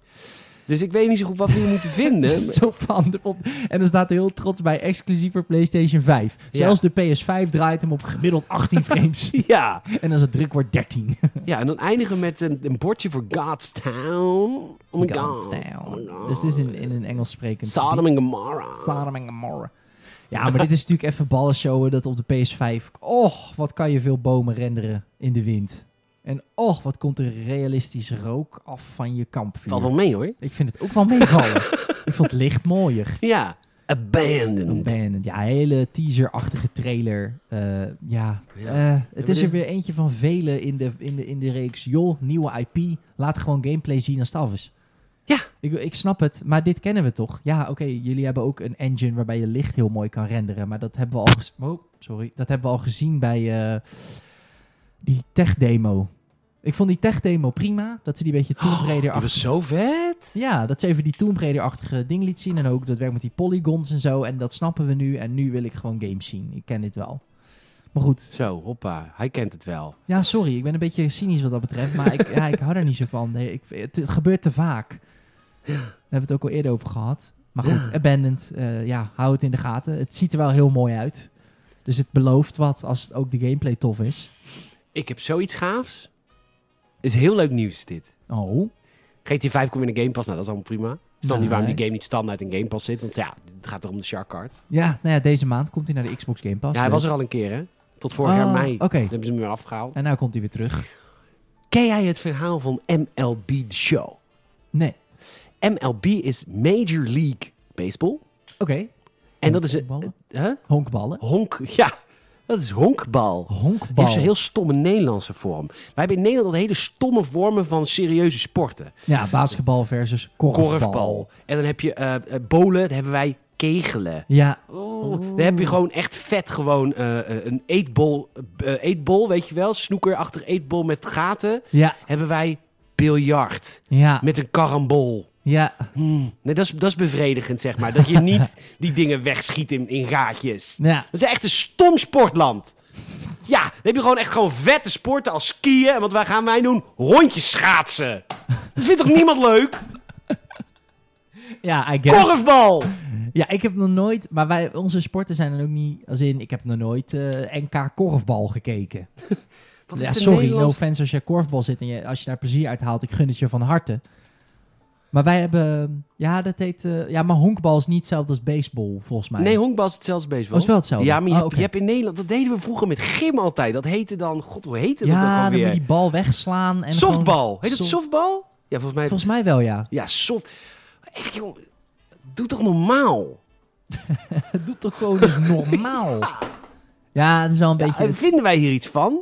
Dus ik weet niet zo goed wat we hier moeten vinden.
Dit is zo van de pot. En dan staat hij heel trots bij exclusief voor PlayStation 5. Zelfs de PS5 draait hem op gemiddeld 18 frames.
Ja.
en als het druk wordt 13.
ja, en dan eindigen we met een, een bordje voor Godstown. Oh my god.
Godstown.
Oh my god.
dus dit is in, in een Engels sprekend.
Sodom en Gomorrah.
Sodom and Gomorrah.
Ja, maar dit is natuurlijk even ballen showen dat op de PS5... Och, wat kan je veel bomen renderen in de wind. En och, wat komt er realistisch rook af van je kampvuur.
Valt wel mee hoor.
Ik vind het ook wel meevallen. Ik vond het licht mooier.
Ja. Abandoned.
Abandoned. Ja, hele teaser-achtige trailer. Eh, ja,
Ja.
Eh, het
maar
is er
dit-
weer eentje van velen in de, in, de, in de reeks. Joh, nieuwe IP. Laat gewoon gameplay zien als het af is.
Ja.
Ik, ik snap het, maar dit kennen we toch? Ja, oké, jullie hebben ook een engine waarbij je licht heel mooi kan renderen. Maar dat hebben we al, gez- oh, sorry. Dat hebben we al gezien bij eh, die tech-demo. Ik vond die tech-demo prima. Dat ze die beetje Tomb Raider
Dat was zo vet.
ja, dat ze even die Tomb Raider-achtige ding liet zien. En ook dat werk met die polygons en zo. En dat snappen we nu. En nu wil ik gewoon games zien. Ik ken dit wel. Maar goed.
Zo, hoppa. Hij kent het wel.
Ja, sorry. Ik ben een beetje cynisch wat dat betreft. Maar ik, ja, ik hou er niet zo van. Nee, ik, het, het gebeurt te vaak. Daar hebben we het ook al eerder over gehad. Maar goed, Abandoned. eh, ja, hou het in de gaten. Het ziet er wel heel mooi uit. Dus het belooft wat als ook de gameplay tof is.
Ik heb zoiets gaafs. Is heel leuk nieuws dit.
Oh,
GTA 5 komt in de Game Pass. Nou, dat is allemaal prima. Ik snap niet waarom die
Nice.
game niet standaard in Game Pass zit. Want ja, het gaat er om de Shark Card.
ja. Nou ja, deze maand komt hij naar de Xbox Game Pass.
ja, hij was er al een keer, hè? Tot vorig
Oh,
jaar mei.
Oké.
Dan hebben ze hem weer afgehaald.
En nou komt hij weer terug.
Ken jij het verhaal van MLB The Show?
Nee.
MLB is Major League Baseball.
Oké.
En dat is een...
Honkballen?
Huh?
Honkballen?
Honk, ja. Dat is honkbal.
Honkbal.
heeft zo'n heel stomme Nederlandse vorm. Wij hebben in Nederland al hele stomme vormen van serieuze sporten.
Ja, basketbal versus korfbal.
Korfbal. En dan heb je eh eh, bolen, dan hebben wij kegelen.
Ja,
Oh, Dan heb je gewoon echt vet gewoon eh, eh, een eetbol, eh, eetbol, weet je wel. Snoekerachtig eetbol met gaten.
ja,
Hebben wij biljart
ja,
met een karambol.
ja.
Hmm. Nee, dat is, dat is bevredigend, zeg maar. Dat je niet die dingen wegschiet in, in gaatjes.
ja.
Dat is echt een stom sportland. Ja, dan heb je gewoon echt gewoon vette sporten als skiën. En wat wij gaan wij doen? Rondjes schaatsen. Dat vindt toch niemand leuk?
Ja, I guess.
Korfbal!
Ja, ik heb nog nooit... Maar wij, onze sporten zijn dan ook niet... Als in, ik heb nog nooit eh, NK korfbal gekeken.
Wat
ja,
de
sorry, no
Nederlandse-
offense als je korfbal zit en je, als je daar plezier uit haalt. Ik gun het je van harte. Maar wij hebben... Ja, dat heet... eh, ja, maar honkbal is niet hetzelfde als baseball, volgens mij.
Nee, honkbal is hetzelfde als
Oh,
baseball.
is wel hetzelfde.
Ja, maar je,
Oh,
hebt,
oké.
je hebt in Nederland... Dat deden we vroeger met gym altijd. Dat heette dan... God, hoe heette dat
Ja,
ook
dan moet
alweer?
je die bal wegslaan. En
Softbal.
gewoon-
Heet dat
Sof-
softbal? Ja, volgens mij...
Volgens mij wel, ja.
Ja, soft... Echt, joh. Doe toch normaal?
Het doet toch gewoon dus normaal. Ja, het is wel een
Ja,
beetje...
en
het-
Vinden wij hier iets van?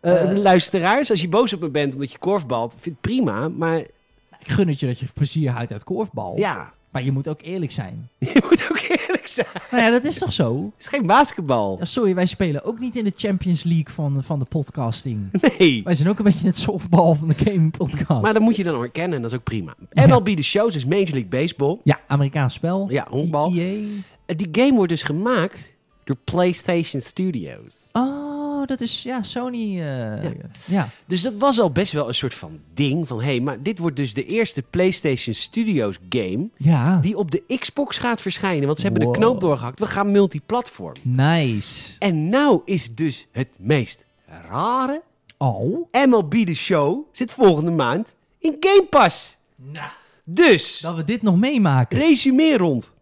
Eh,
Eh,
luisteraars, als je boos op me bent omdat je korfbalt, vind het prima, maar
Ik gun het je dat je plezier houdt uit korfbal.
ja,
Maar je moet ook eerlijk zijn.
je moet ook eerlijk zijn. Het
Nou ja, dat is toch zo?
is geen basketbal.
Ja, sorry, wij spelen ook niet in de Champions League van, van de podcasting.
Nee.
Wij zijn ook een beetje het softbal van de gaming podcast.
Maar dat moet je dan herkennen en dat is ook prima. MLB de shows is dus Major League Baseball.
Ja, Amerikaans spel. E
Ja, honkbal.
EA.
Eh, Die game wordt dus gemaakt door PlayStation Studios.
Oh, dat is ja, Sony. eh,
Ja.
ja.
Dus dat was al best wel een soort van ding van hé, hey, maar dit wordt dus de eerste PlayStation Studios game
Ja.
die op de Xbox gaat verschijnen, want ze hebben
Wow.
de knoop doorgehakt. We gaan multiplatform.
Nice.
En nou is dus het meest rare.
Oh.
MLB de Show zit volgende maand in Game Pass.
Nou.
Dus,
Dat we dit nog meemaken.
resume rond.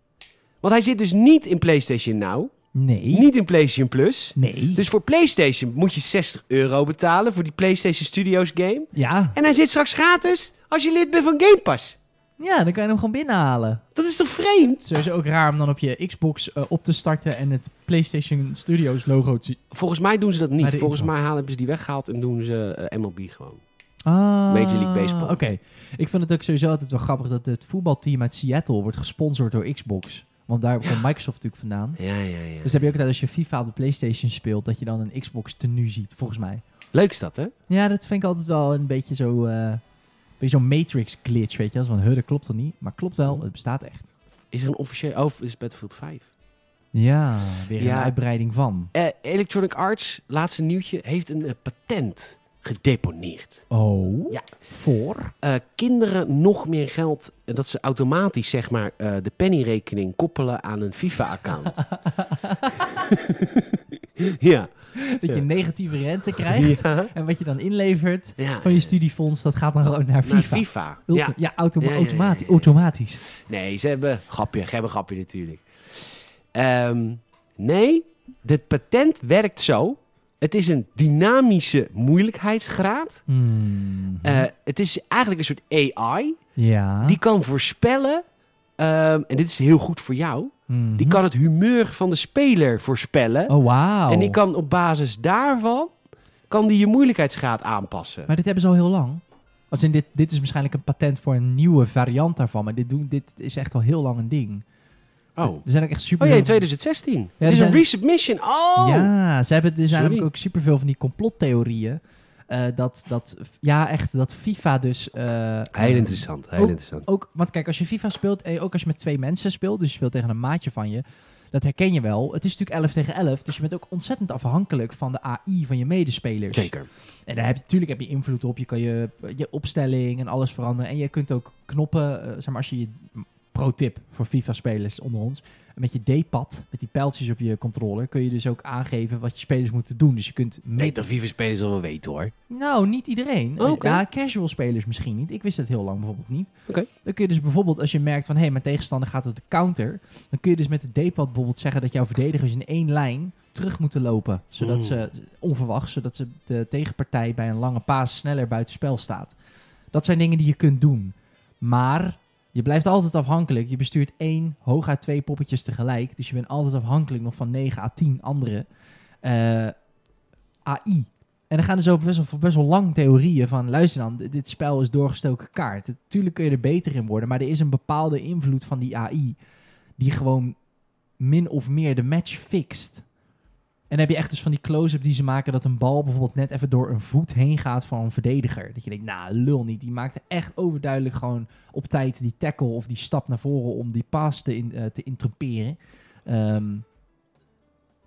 Want hij zit dus niet in PlayStation Now,
Nee.
niet in PlayStation Plus.
Nee.
Dus voor PlayStation moet je 60 euro betalen voor die PlayStation Studios game.
ja.
En hij zit straks gratis als je lid bent van Game Pass.
ja, dan kan je hem gewoon binnenhalen.
Dat is toch vreemd?
Het is sowieso ook raar om dan op je Xbox eh, op te starten en het PlayStation Studios logo te zien.
Volgens mij doen ze dat niet.
Bij de
Volgens
intro.
mij halen ze die weggehaald en doen ze eh, MLB gewoon.
Ah,
Major League Baseball.
Oké. Ik vind het ook sowieso altijd wel grappig dat het voetbalteam uit Seattle wordt gesponsord door Xbox. Want daar komt Microsoft natuurlijk vandaan.
Ja, ja, ja.
Dus heb je ook altijd als je FIFA op de PlayStation speelt, dat je dan een Xbox tenue ziet, volgens mij.
Leuk is dat, hè?
Ja, dat vind ik altijd wel een beetje zo. eh, een beetje zo'n Matrix glitch, weet je. wel. Zo van, huh, dat klopt dan niet. Maar klopt
Mm.
wel, het bestaat echt.
Is er een officieel... Oh, is Battlefield 5?
Ja, weer
Ja.
een uitbreiding van.
Eh, Electronic Arts, laatste nieuwtje, heeft een eh, patent gedeponeerd.
Oh.
Ja.
Voor.
Eh, kinderen nog meer geld, eh, dat ze automatisch zeg maar eh, de pennyrekening koppelen aan een FIFA-account. ja.
Dat je negatieve rente krijgt.
Ja.
En wat je dan inlevert
Ja.
van je studiefonds, dat gaat dan gewoon naar
Naar
FIFA.
FIFA.
Ulti-
Ja.
ja, automa-
Ja, ja, ja,
automati-
ja, ja.
automatisch.
Nee, ze hebben grapje, ze hebben grapje natuurlijk. Ehm, nee, dit patent werkt zo. Het is een dynamische moeilijkheidsgraad.
Hmm.
Eh, het is eigenlijk een soort AI.
Ah. ja.
Die kan voorspellen, ehm, en dit is heel goed voor jou,
Mhm.
die kan het humeur van de speler voorspellen.
Oh, wauw.
En die kan op basis daarvan, kan die je moeilijkheidsgraad aanpassen.
Maar dit hebben ze al heel lang. Als in dit, dit is waarschijnlijk een patent voor een nieuwe variant daarvan. Maar dit, doen, dit is echt al heel lang een ding.
Oh,
Er zijn ook echt super...
oh ja, in 2016. het
er
is
zijn-
een resubmission. Oh!
Ja, ze hebben, er zijn
Sorry.
namelijk ook superveel van die complottheorieën. eh, dat, dat, ja, echt, dat FIFA dus... eh,
Heel interessant, heel
Oh.
interessant.
ook, want kijk, als je FIFA speelt, en ook als je met twee mensen speelt, dus je speelt tegen een maatje van je, dat herken je wel. Het is natuurlijk 11 tegen 11, dus je bent ook ontzettend afhankelijk van de AI van je medespelers.
Zeker.
En daar heb je natuurlijk heb je invloed op. Je kan je, je opstelling en alles veranderen. En je kunt ook knoppen, eh, zeg maar als je je pro-tip voor FIFA-spelers onder ons. Met je D-pad, met die pijltjes op je controller, kun je dus ook aangeven wat je spelers moeten doen. Dus je kunt
Nee,
meten.
dat FIFA-spelers al wel weten hoor.
Nou, niet iedereen.
Oh, oké.
Ja, casual spelers misschien niet. Ik wist dat heel lang bijvoorbeeld niet.
Oké.
Dan kun je dus bijvoorbeeld, als je merkt van... hé, hey, mijn tegenstander gaat op de counter... dan kun je dus met de D-pad bijvoorbeeld zeggen... dat jouw verdedigers in één lijn terug moeten lopen. Zodat
Mm.
ze, onverwachts, zodat ze de tegenpartij... bij een lange paas sneller buitenspel staat. Dat zijn dingen die je kunt doen. Maar je blijft altijd afhankelijk. Je bestuurt één, hooguit twee poppetjes tegelijk. Dus je bent altijd afhankelijk nog van 9 à 10 anderen. Eh, eh, AI. En dan gaan er zo best wel, best wel lang theorieën van, luister dan, dit- dit spel is doorgestoken kaart. Tuurlijk kun je er beter in worden, maar er is een bepaalde invloed van die AI die gewoon min of meer de match fixt. En dan heb je echt dus van die close-up die ze maken dat een bal bijvoorbeeld net even door een voet heen gaat van een verdediger. Dat je denkt, nou lul niet, die maakte echt overduidelijk gewoon op tijd die tackle of die stap naar voren om die paas te, in, eh, te interperen. Ehm,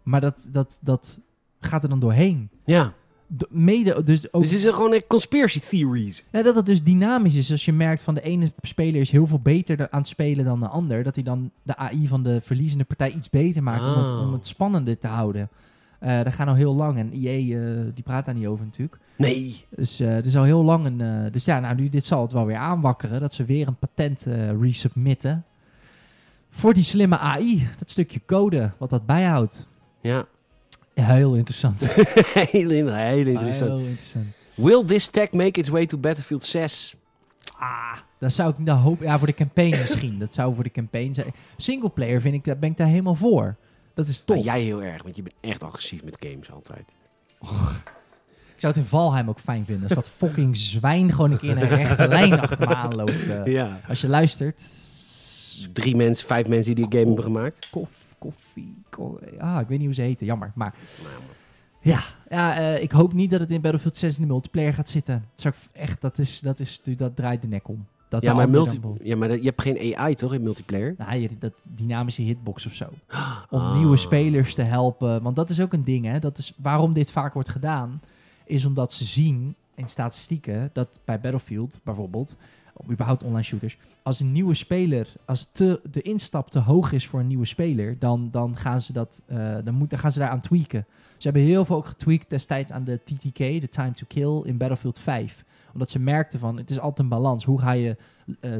maar dat, dat, dat gaat er dan doorheen.
Ja.
Do- mede dus ook
Dus dit is gewoon echt conspiracy theories.
nou, dat het dus dynamisch is. Als je merkt van de ene speler is heel veel beter da- aan het spelen dan de ander. Dat hij dan de AI van de verliezende partij iets beter maakt om, het,
Ah.
om het spannender te houden. Eh dat gaat al heel lang. En IE eh, die praat daar niet over natuurlijk.
Nee.
Dus eh, er is al heel lang een... eh, dus ja, nou, nu, dit zal het wel weer aanwakkeren. Dat ze weer een patent eh, resubmitten. Voor die slimme AI. Dat stukje code wat dat bijhoudt.
Ja.
Heel interessant.
heel, in- heel interessant.
Heel interessant.
Will this tech make its way to Battlefield 6?
Ah, daar zou ik nou hoop. Ja, voor de campaign misschien. Dat zou voor de campaign zijn. Singleplayer vind ik, daar ben ik daar helemaal voor. Dat is tof.
Nou, jij heel erg, want je bent echt agressief met games altijd.
Ik zou het in Valheim ook fijn vinden. Als dat fucking zwijn gewoon een keer in een rechte lijn achter me aanloopt. eh.
Ja. Dus
Als je luistert.
Drie mensen, vijf mensen die die game hebben gemaakt.
Kof, koffie. ko- ah, ik weet niet hoe ze heten. Jammer. Maar. Ja, ja eh, ik hoop niet dat het in Battlefield 6 in de multiplayer gaat zitten. Dat, zou ik f- echt, dat, is, dat, is, dat draait de nek om. Dat
ja,
de
maar
ander
multi
dan-
ja, maar dat- je hebt geen AI toch in multiplayer?
Nou, je- dat dynamische hitbox of zo. Om nieuwe spelers te helpen. Want dat is ook een ding, hè. Dat is waarom dit vaak wordt gedaan. Is omdat ze zien in statistieken dat bij Battlefield bijvoorbeeld... of überhaupt online shooters... als een nieuwe speler... als te, de instap te hoog is voor een nieuwe speler... dan, dan, gaan, ze dat, eh, dan, moet, dan gaan ze daaraan tweaken. Ze hebben heel veel ook getweakt destijds aan de TTK... de Time to Kill in Battlefield 5. Omdat ze merkten van... het is altijd een balans. Hoe ga je... eh,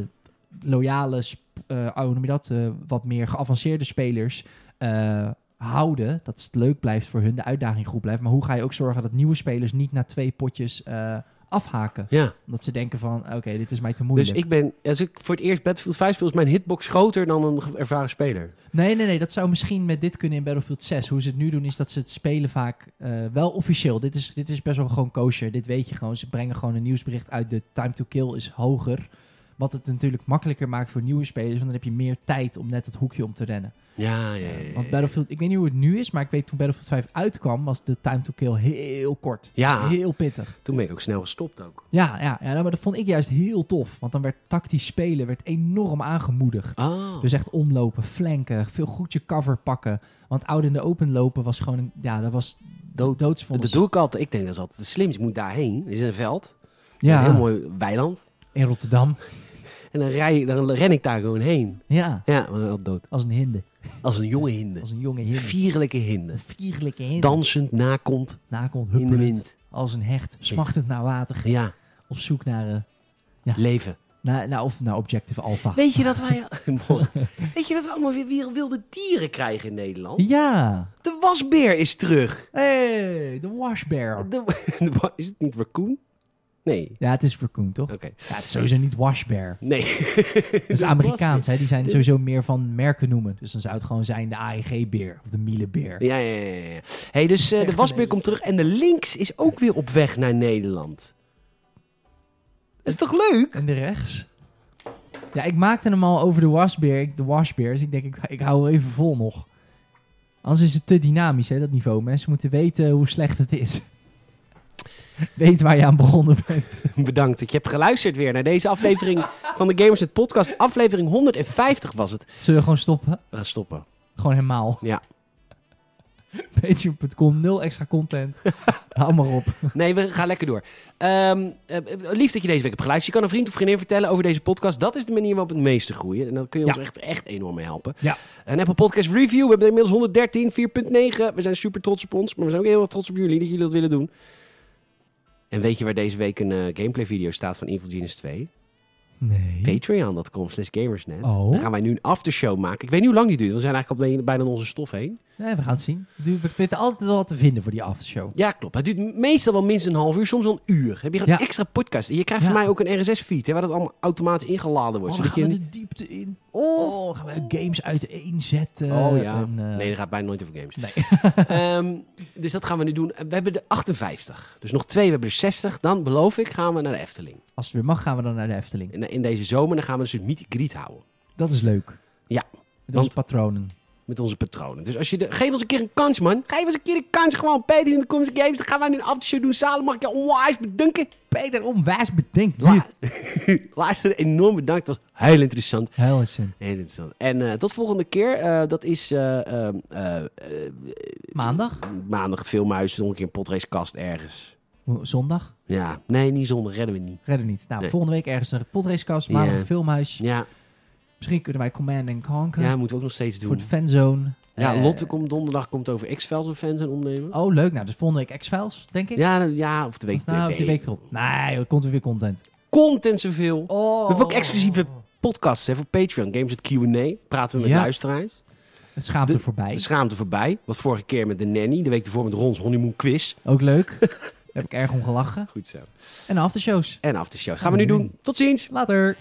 loyale, sp- eh, oh, hoe noem je dat, eh, wat meer geavanceerde spelers eh, houden. Dat het leuk blijft voor hun, de uitdaging goed blijft. Maar hoe ga je ook zorgen dat nieuwe spelers niet na twee potjes eh, afhaken?
Ja.
Omdat ze denken van, oké, dit is mij te
Dus
moeilijk.
ik ben, als ik voor het eerst Battlefield 5 speel, is mijn hitbox groter dan een ge- ervaren speler.
Nee, nee, nee, dat zou misschien met dit kunnen in Battlefield 6. Hoe ze het nu doen is dat ze het spelen vaak eh, wel officieel. Dit is, dit is best wel gewoon kosher, dit weet je gewoon. Ze brengen gewoon een nieuwsbericht uit, de time to kill is hoger. Wat het natuurlijk makkelijker maakt voor nieuwe spelers, want dan heb je meer tijd om net het hoekje om te rennen.
Ja, ja,
Eh, Want Battlefield, ik weet niet hoe het nu is, maar ik weet toen Battlefield 5 uitkwam, was de time to kill heel kort.
Ja.
Dus heel pittig.
Toen ben ik ook snel gestopt ook.
Ja, ja, ja, maar dat vond ik juist heel tof. Want dan werd tactisch spelen werd enorm aangemoedigd.
Ah.
Dus echt omlopen, flanken, veel goed je cover pakken. Want oud in de open lopen was gewoon een, ja, dat was
Dood.
doodsvonnis.
dat doe ik altijd. Ik denk dat is altijd het slimste. Je moet daarheen. Er is een veld.
ja,
Een heel mooi weiland.
in Rotterdam.
En dan, rij, dan ren ik daar gewoon heen.
Ja,
Ja, maar wel dood.
als een hinde.
Als een jonge hinde.
Als een jonge hinde.
Vierlijke hinde.
Een vierlijke hinde.
Dansend nakomt in
Nakomt
de
huppelend,
wind.
als een hecht, smachtend naar water,
Ja,
op zoek naar, eh,
leven.
naar, naar, of naar Objective Alpha.
Weet je dat wij... Mooi. Weet je dat we allemaal weer, weer wilde dieren krijgen in Nederland?
Ja.
De wasbeer is terug.
Hey, de washbear.
De, de wa- is het niet raccoon? Nee.
Ja, het is raccoon, toch?
Oké.
Ja, het is sowieso niet washbear.
Nee.
Dat is Amerikaans, hè? Die zijn sowieso meer van merken noemen. Dus dan zou het gewoon zijn de AEG-beer of de Miele-beer.
Ja, ja, ja. ja. hey, dus eh, de
Echt
wasbeer
ineens.
komt terug en de links is ook weer op weg naar Nederland. Is toch leuk?
En de rechts? Ja, ik maakte hem al over de washbeer, ik- de washbear. Dus ik denk, ik, ik hou er even vol nog. Anders is het te dynamisch, hè, dat niveau. Mensen moeten weten hoe slecht het is. Weet waar je aan begonnen bent.
Bedankt dat je hebt geluisterd weer naar deze aflevering van de Gamers het Podcast. Aflevering 150 was het.
Zullen we gewoon stoppen?
We gaan stoppen.
Gewoon helemaal.
Ja.
Patreon.com, nul extra content. Hou maar op.
Nee, we gaan lekker door. Ehm, eh, lief dat je deze week hebt geluisterd. Je kan een vriend of vriendin vertellen over deze podcast. Dat is de manier waarop we het meeste groeien. En dan kun je ons
Ja.
echt, echt enorm mee helpen.
Ja.
Een Apple Podcast Review. We hebben er inmiddels 113, 4.9. We zijn super trots op ons. Maar we zijn ook heel erg trots op jullie dat jullie dat willen doen. En weet je waar deze week een eh, gameplay video staat van Evil Genius 2?
Nee.
Patreon.com slash gamersnet.
Oh.
Dan gaan wij nu een aftershow maken. Ik weet niet hoe lang die duurt. We zijn eigenlijk al bijna aan onze stof heen.
Nee, we gaan het zien. We weten altijd wel wat te vinden voor die aftershow.
Ja, klopt. Het duurt meestal wel minstens een half uur, soms wel een uur. Heb je gewoon
Ja.
extra podcast. En je krijgt van
Ja.
mij ook een RSS-feed, hè, waar dat allemaal automatisch ingeladen wordt.
Oh, dan
Zodat
gaan we
je-
de diepte in. Oh, gaan we games uiteenzetten.
Oh ja.
En, eh,
Nee, dat gaat bijna nooit over games.
nee.
Ehm, dus dat gaan we nu doen. We hebben de 58. Dus nog twee, we hebben de 60. Dan, beloof ik, gaan we naar de Efteling.
Als het weer mag, gaan we dan naar de Efteling.
In, in deze zomer dan gaan we dus een meet and greet houden.
Dat is leuk.
Ja,
Met
want-
onze patronen.
Met onze patronen. Dus als je de, geef ons een keer een kans, man. Geef ons een keer een kans. Gewoon Peter in de Comms Games. Dan gaan wij nu een aftershow doen. Samen mag ik je onwijs bedanken.
Peter Onwijs bedenkt.
La Luisteren, enorm bedankt. Het was heel interessant.
Heel zin.
Heel interessant. En eh, tot volgende keer. Eh, dat is eh, ehm, eh, eh,
Maandag?
maandag het filmhuis. Nog een keer een potracekast ergens.
Mo- Zondag?
Ja, nee, niet zondag. Redden we niet.
Redden niet. Nou,
Nee.
volgende week ergens een potracekast. Maandag
Ja.
een filmhuis.
Ja,
Misschien kunnen wij Command and Conquer.
ja moeten we ook nog steeds
voor
doen.
de fanzone.
Ja,
Eh,
Lotte komt donderdag komt over X-Files een fans en opnemen.
Oh, leuk. Nou, dus volgende week X-Files, denk ik.
Ja, nou, ja, of de week
Of nou, of die week erop. Nee, er komt er weer content.
Content zoveel.
Oh.
We hebben ook exclusieve podcasts hè, voor Patreon. Games at Q&A. Praten we met
Ja.
luisteraars.
Het schaamt er
De
voorbij.
schaamte voorbij. Wat vorige keer met de nanny. De week ervoor met Rons honeymoon quiz.
Ook leuk. Daar heb ik erg om gelachen.
Goed zo.
En de aftershows.
En aftershows. Gaan we nu doen. Tot ziens.
Later.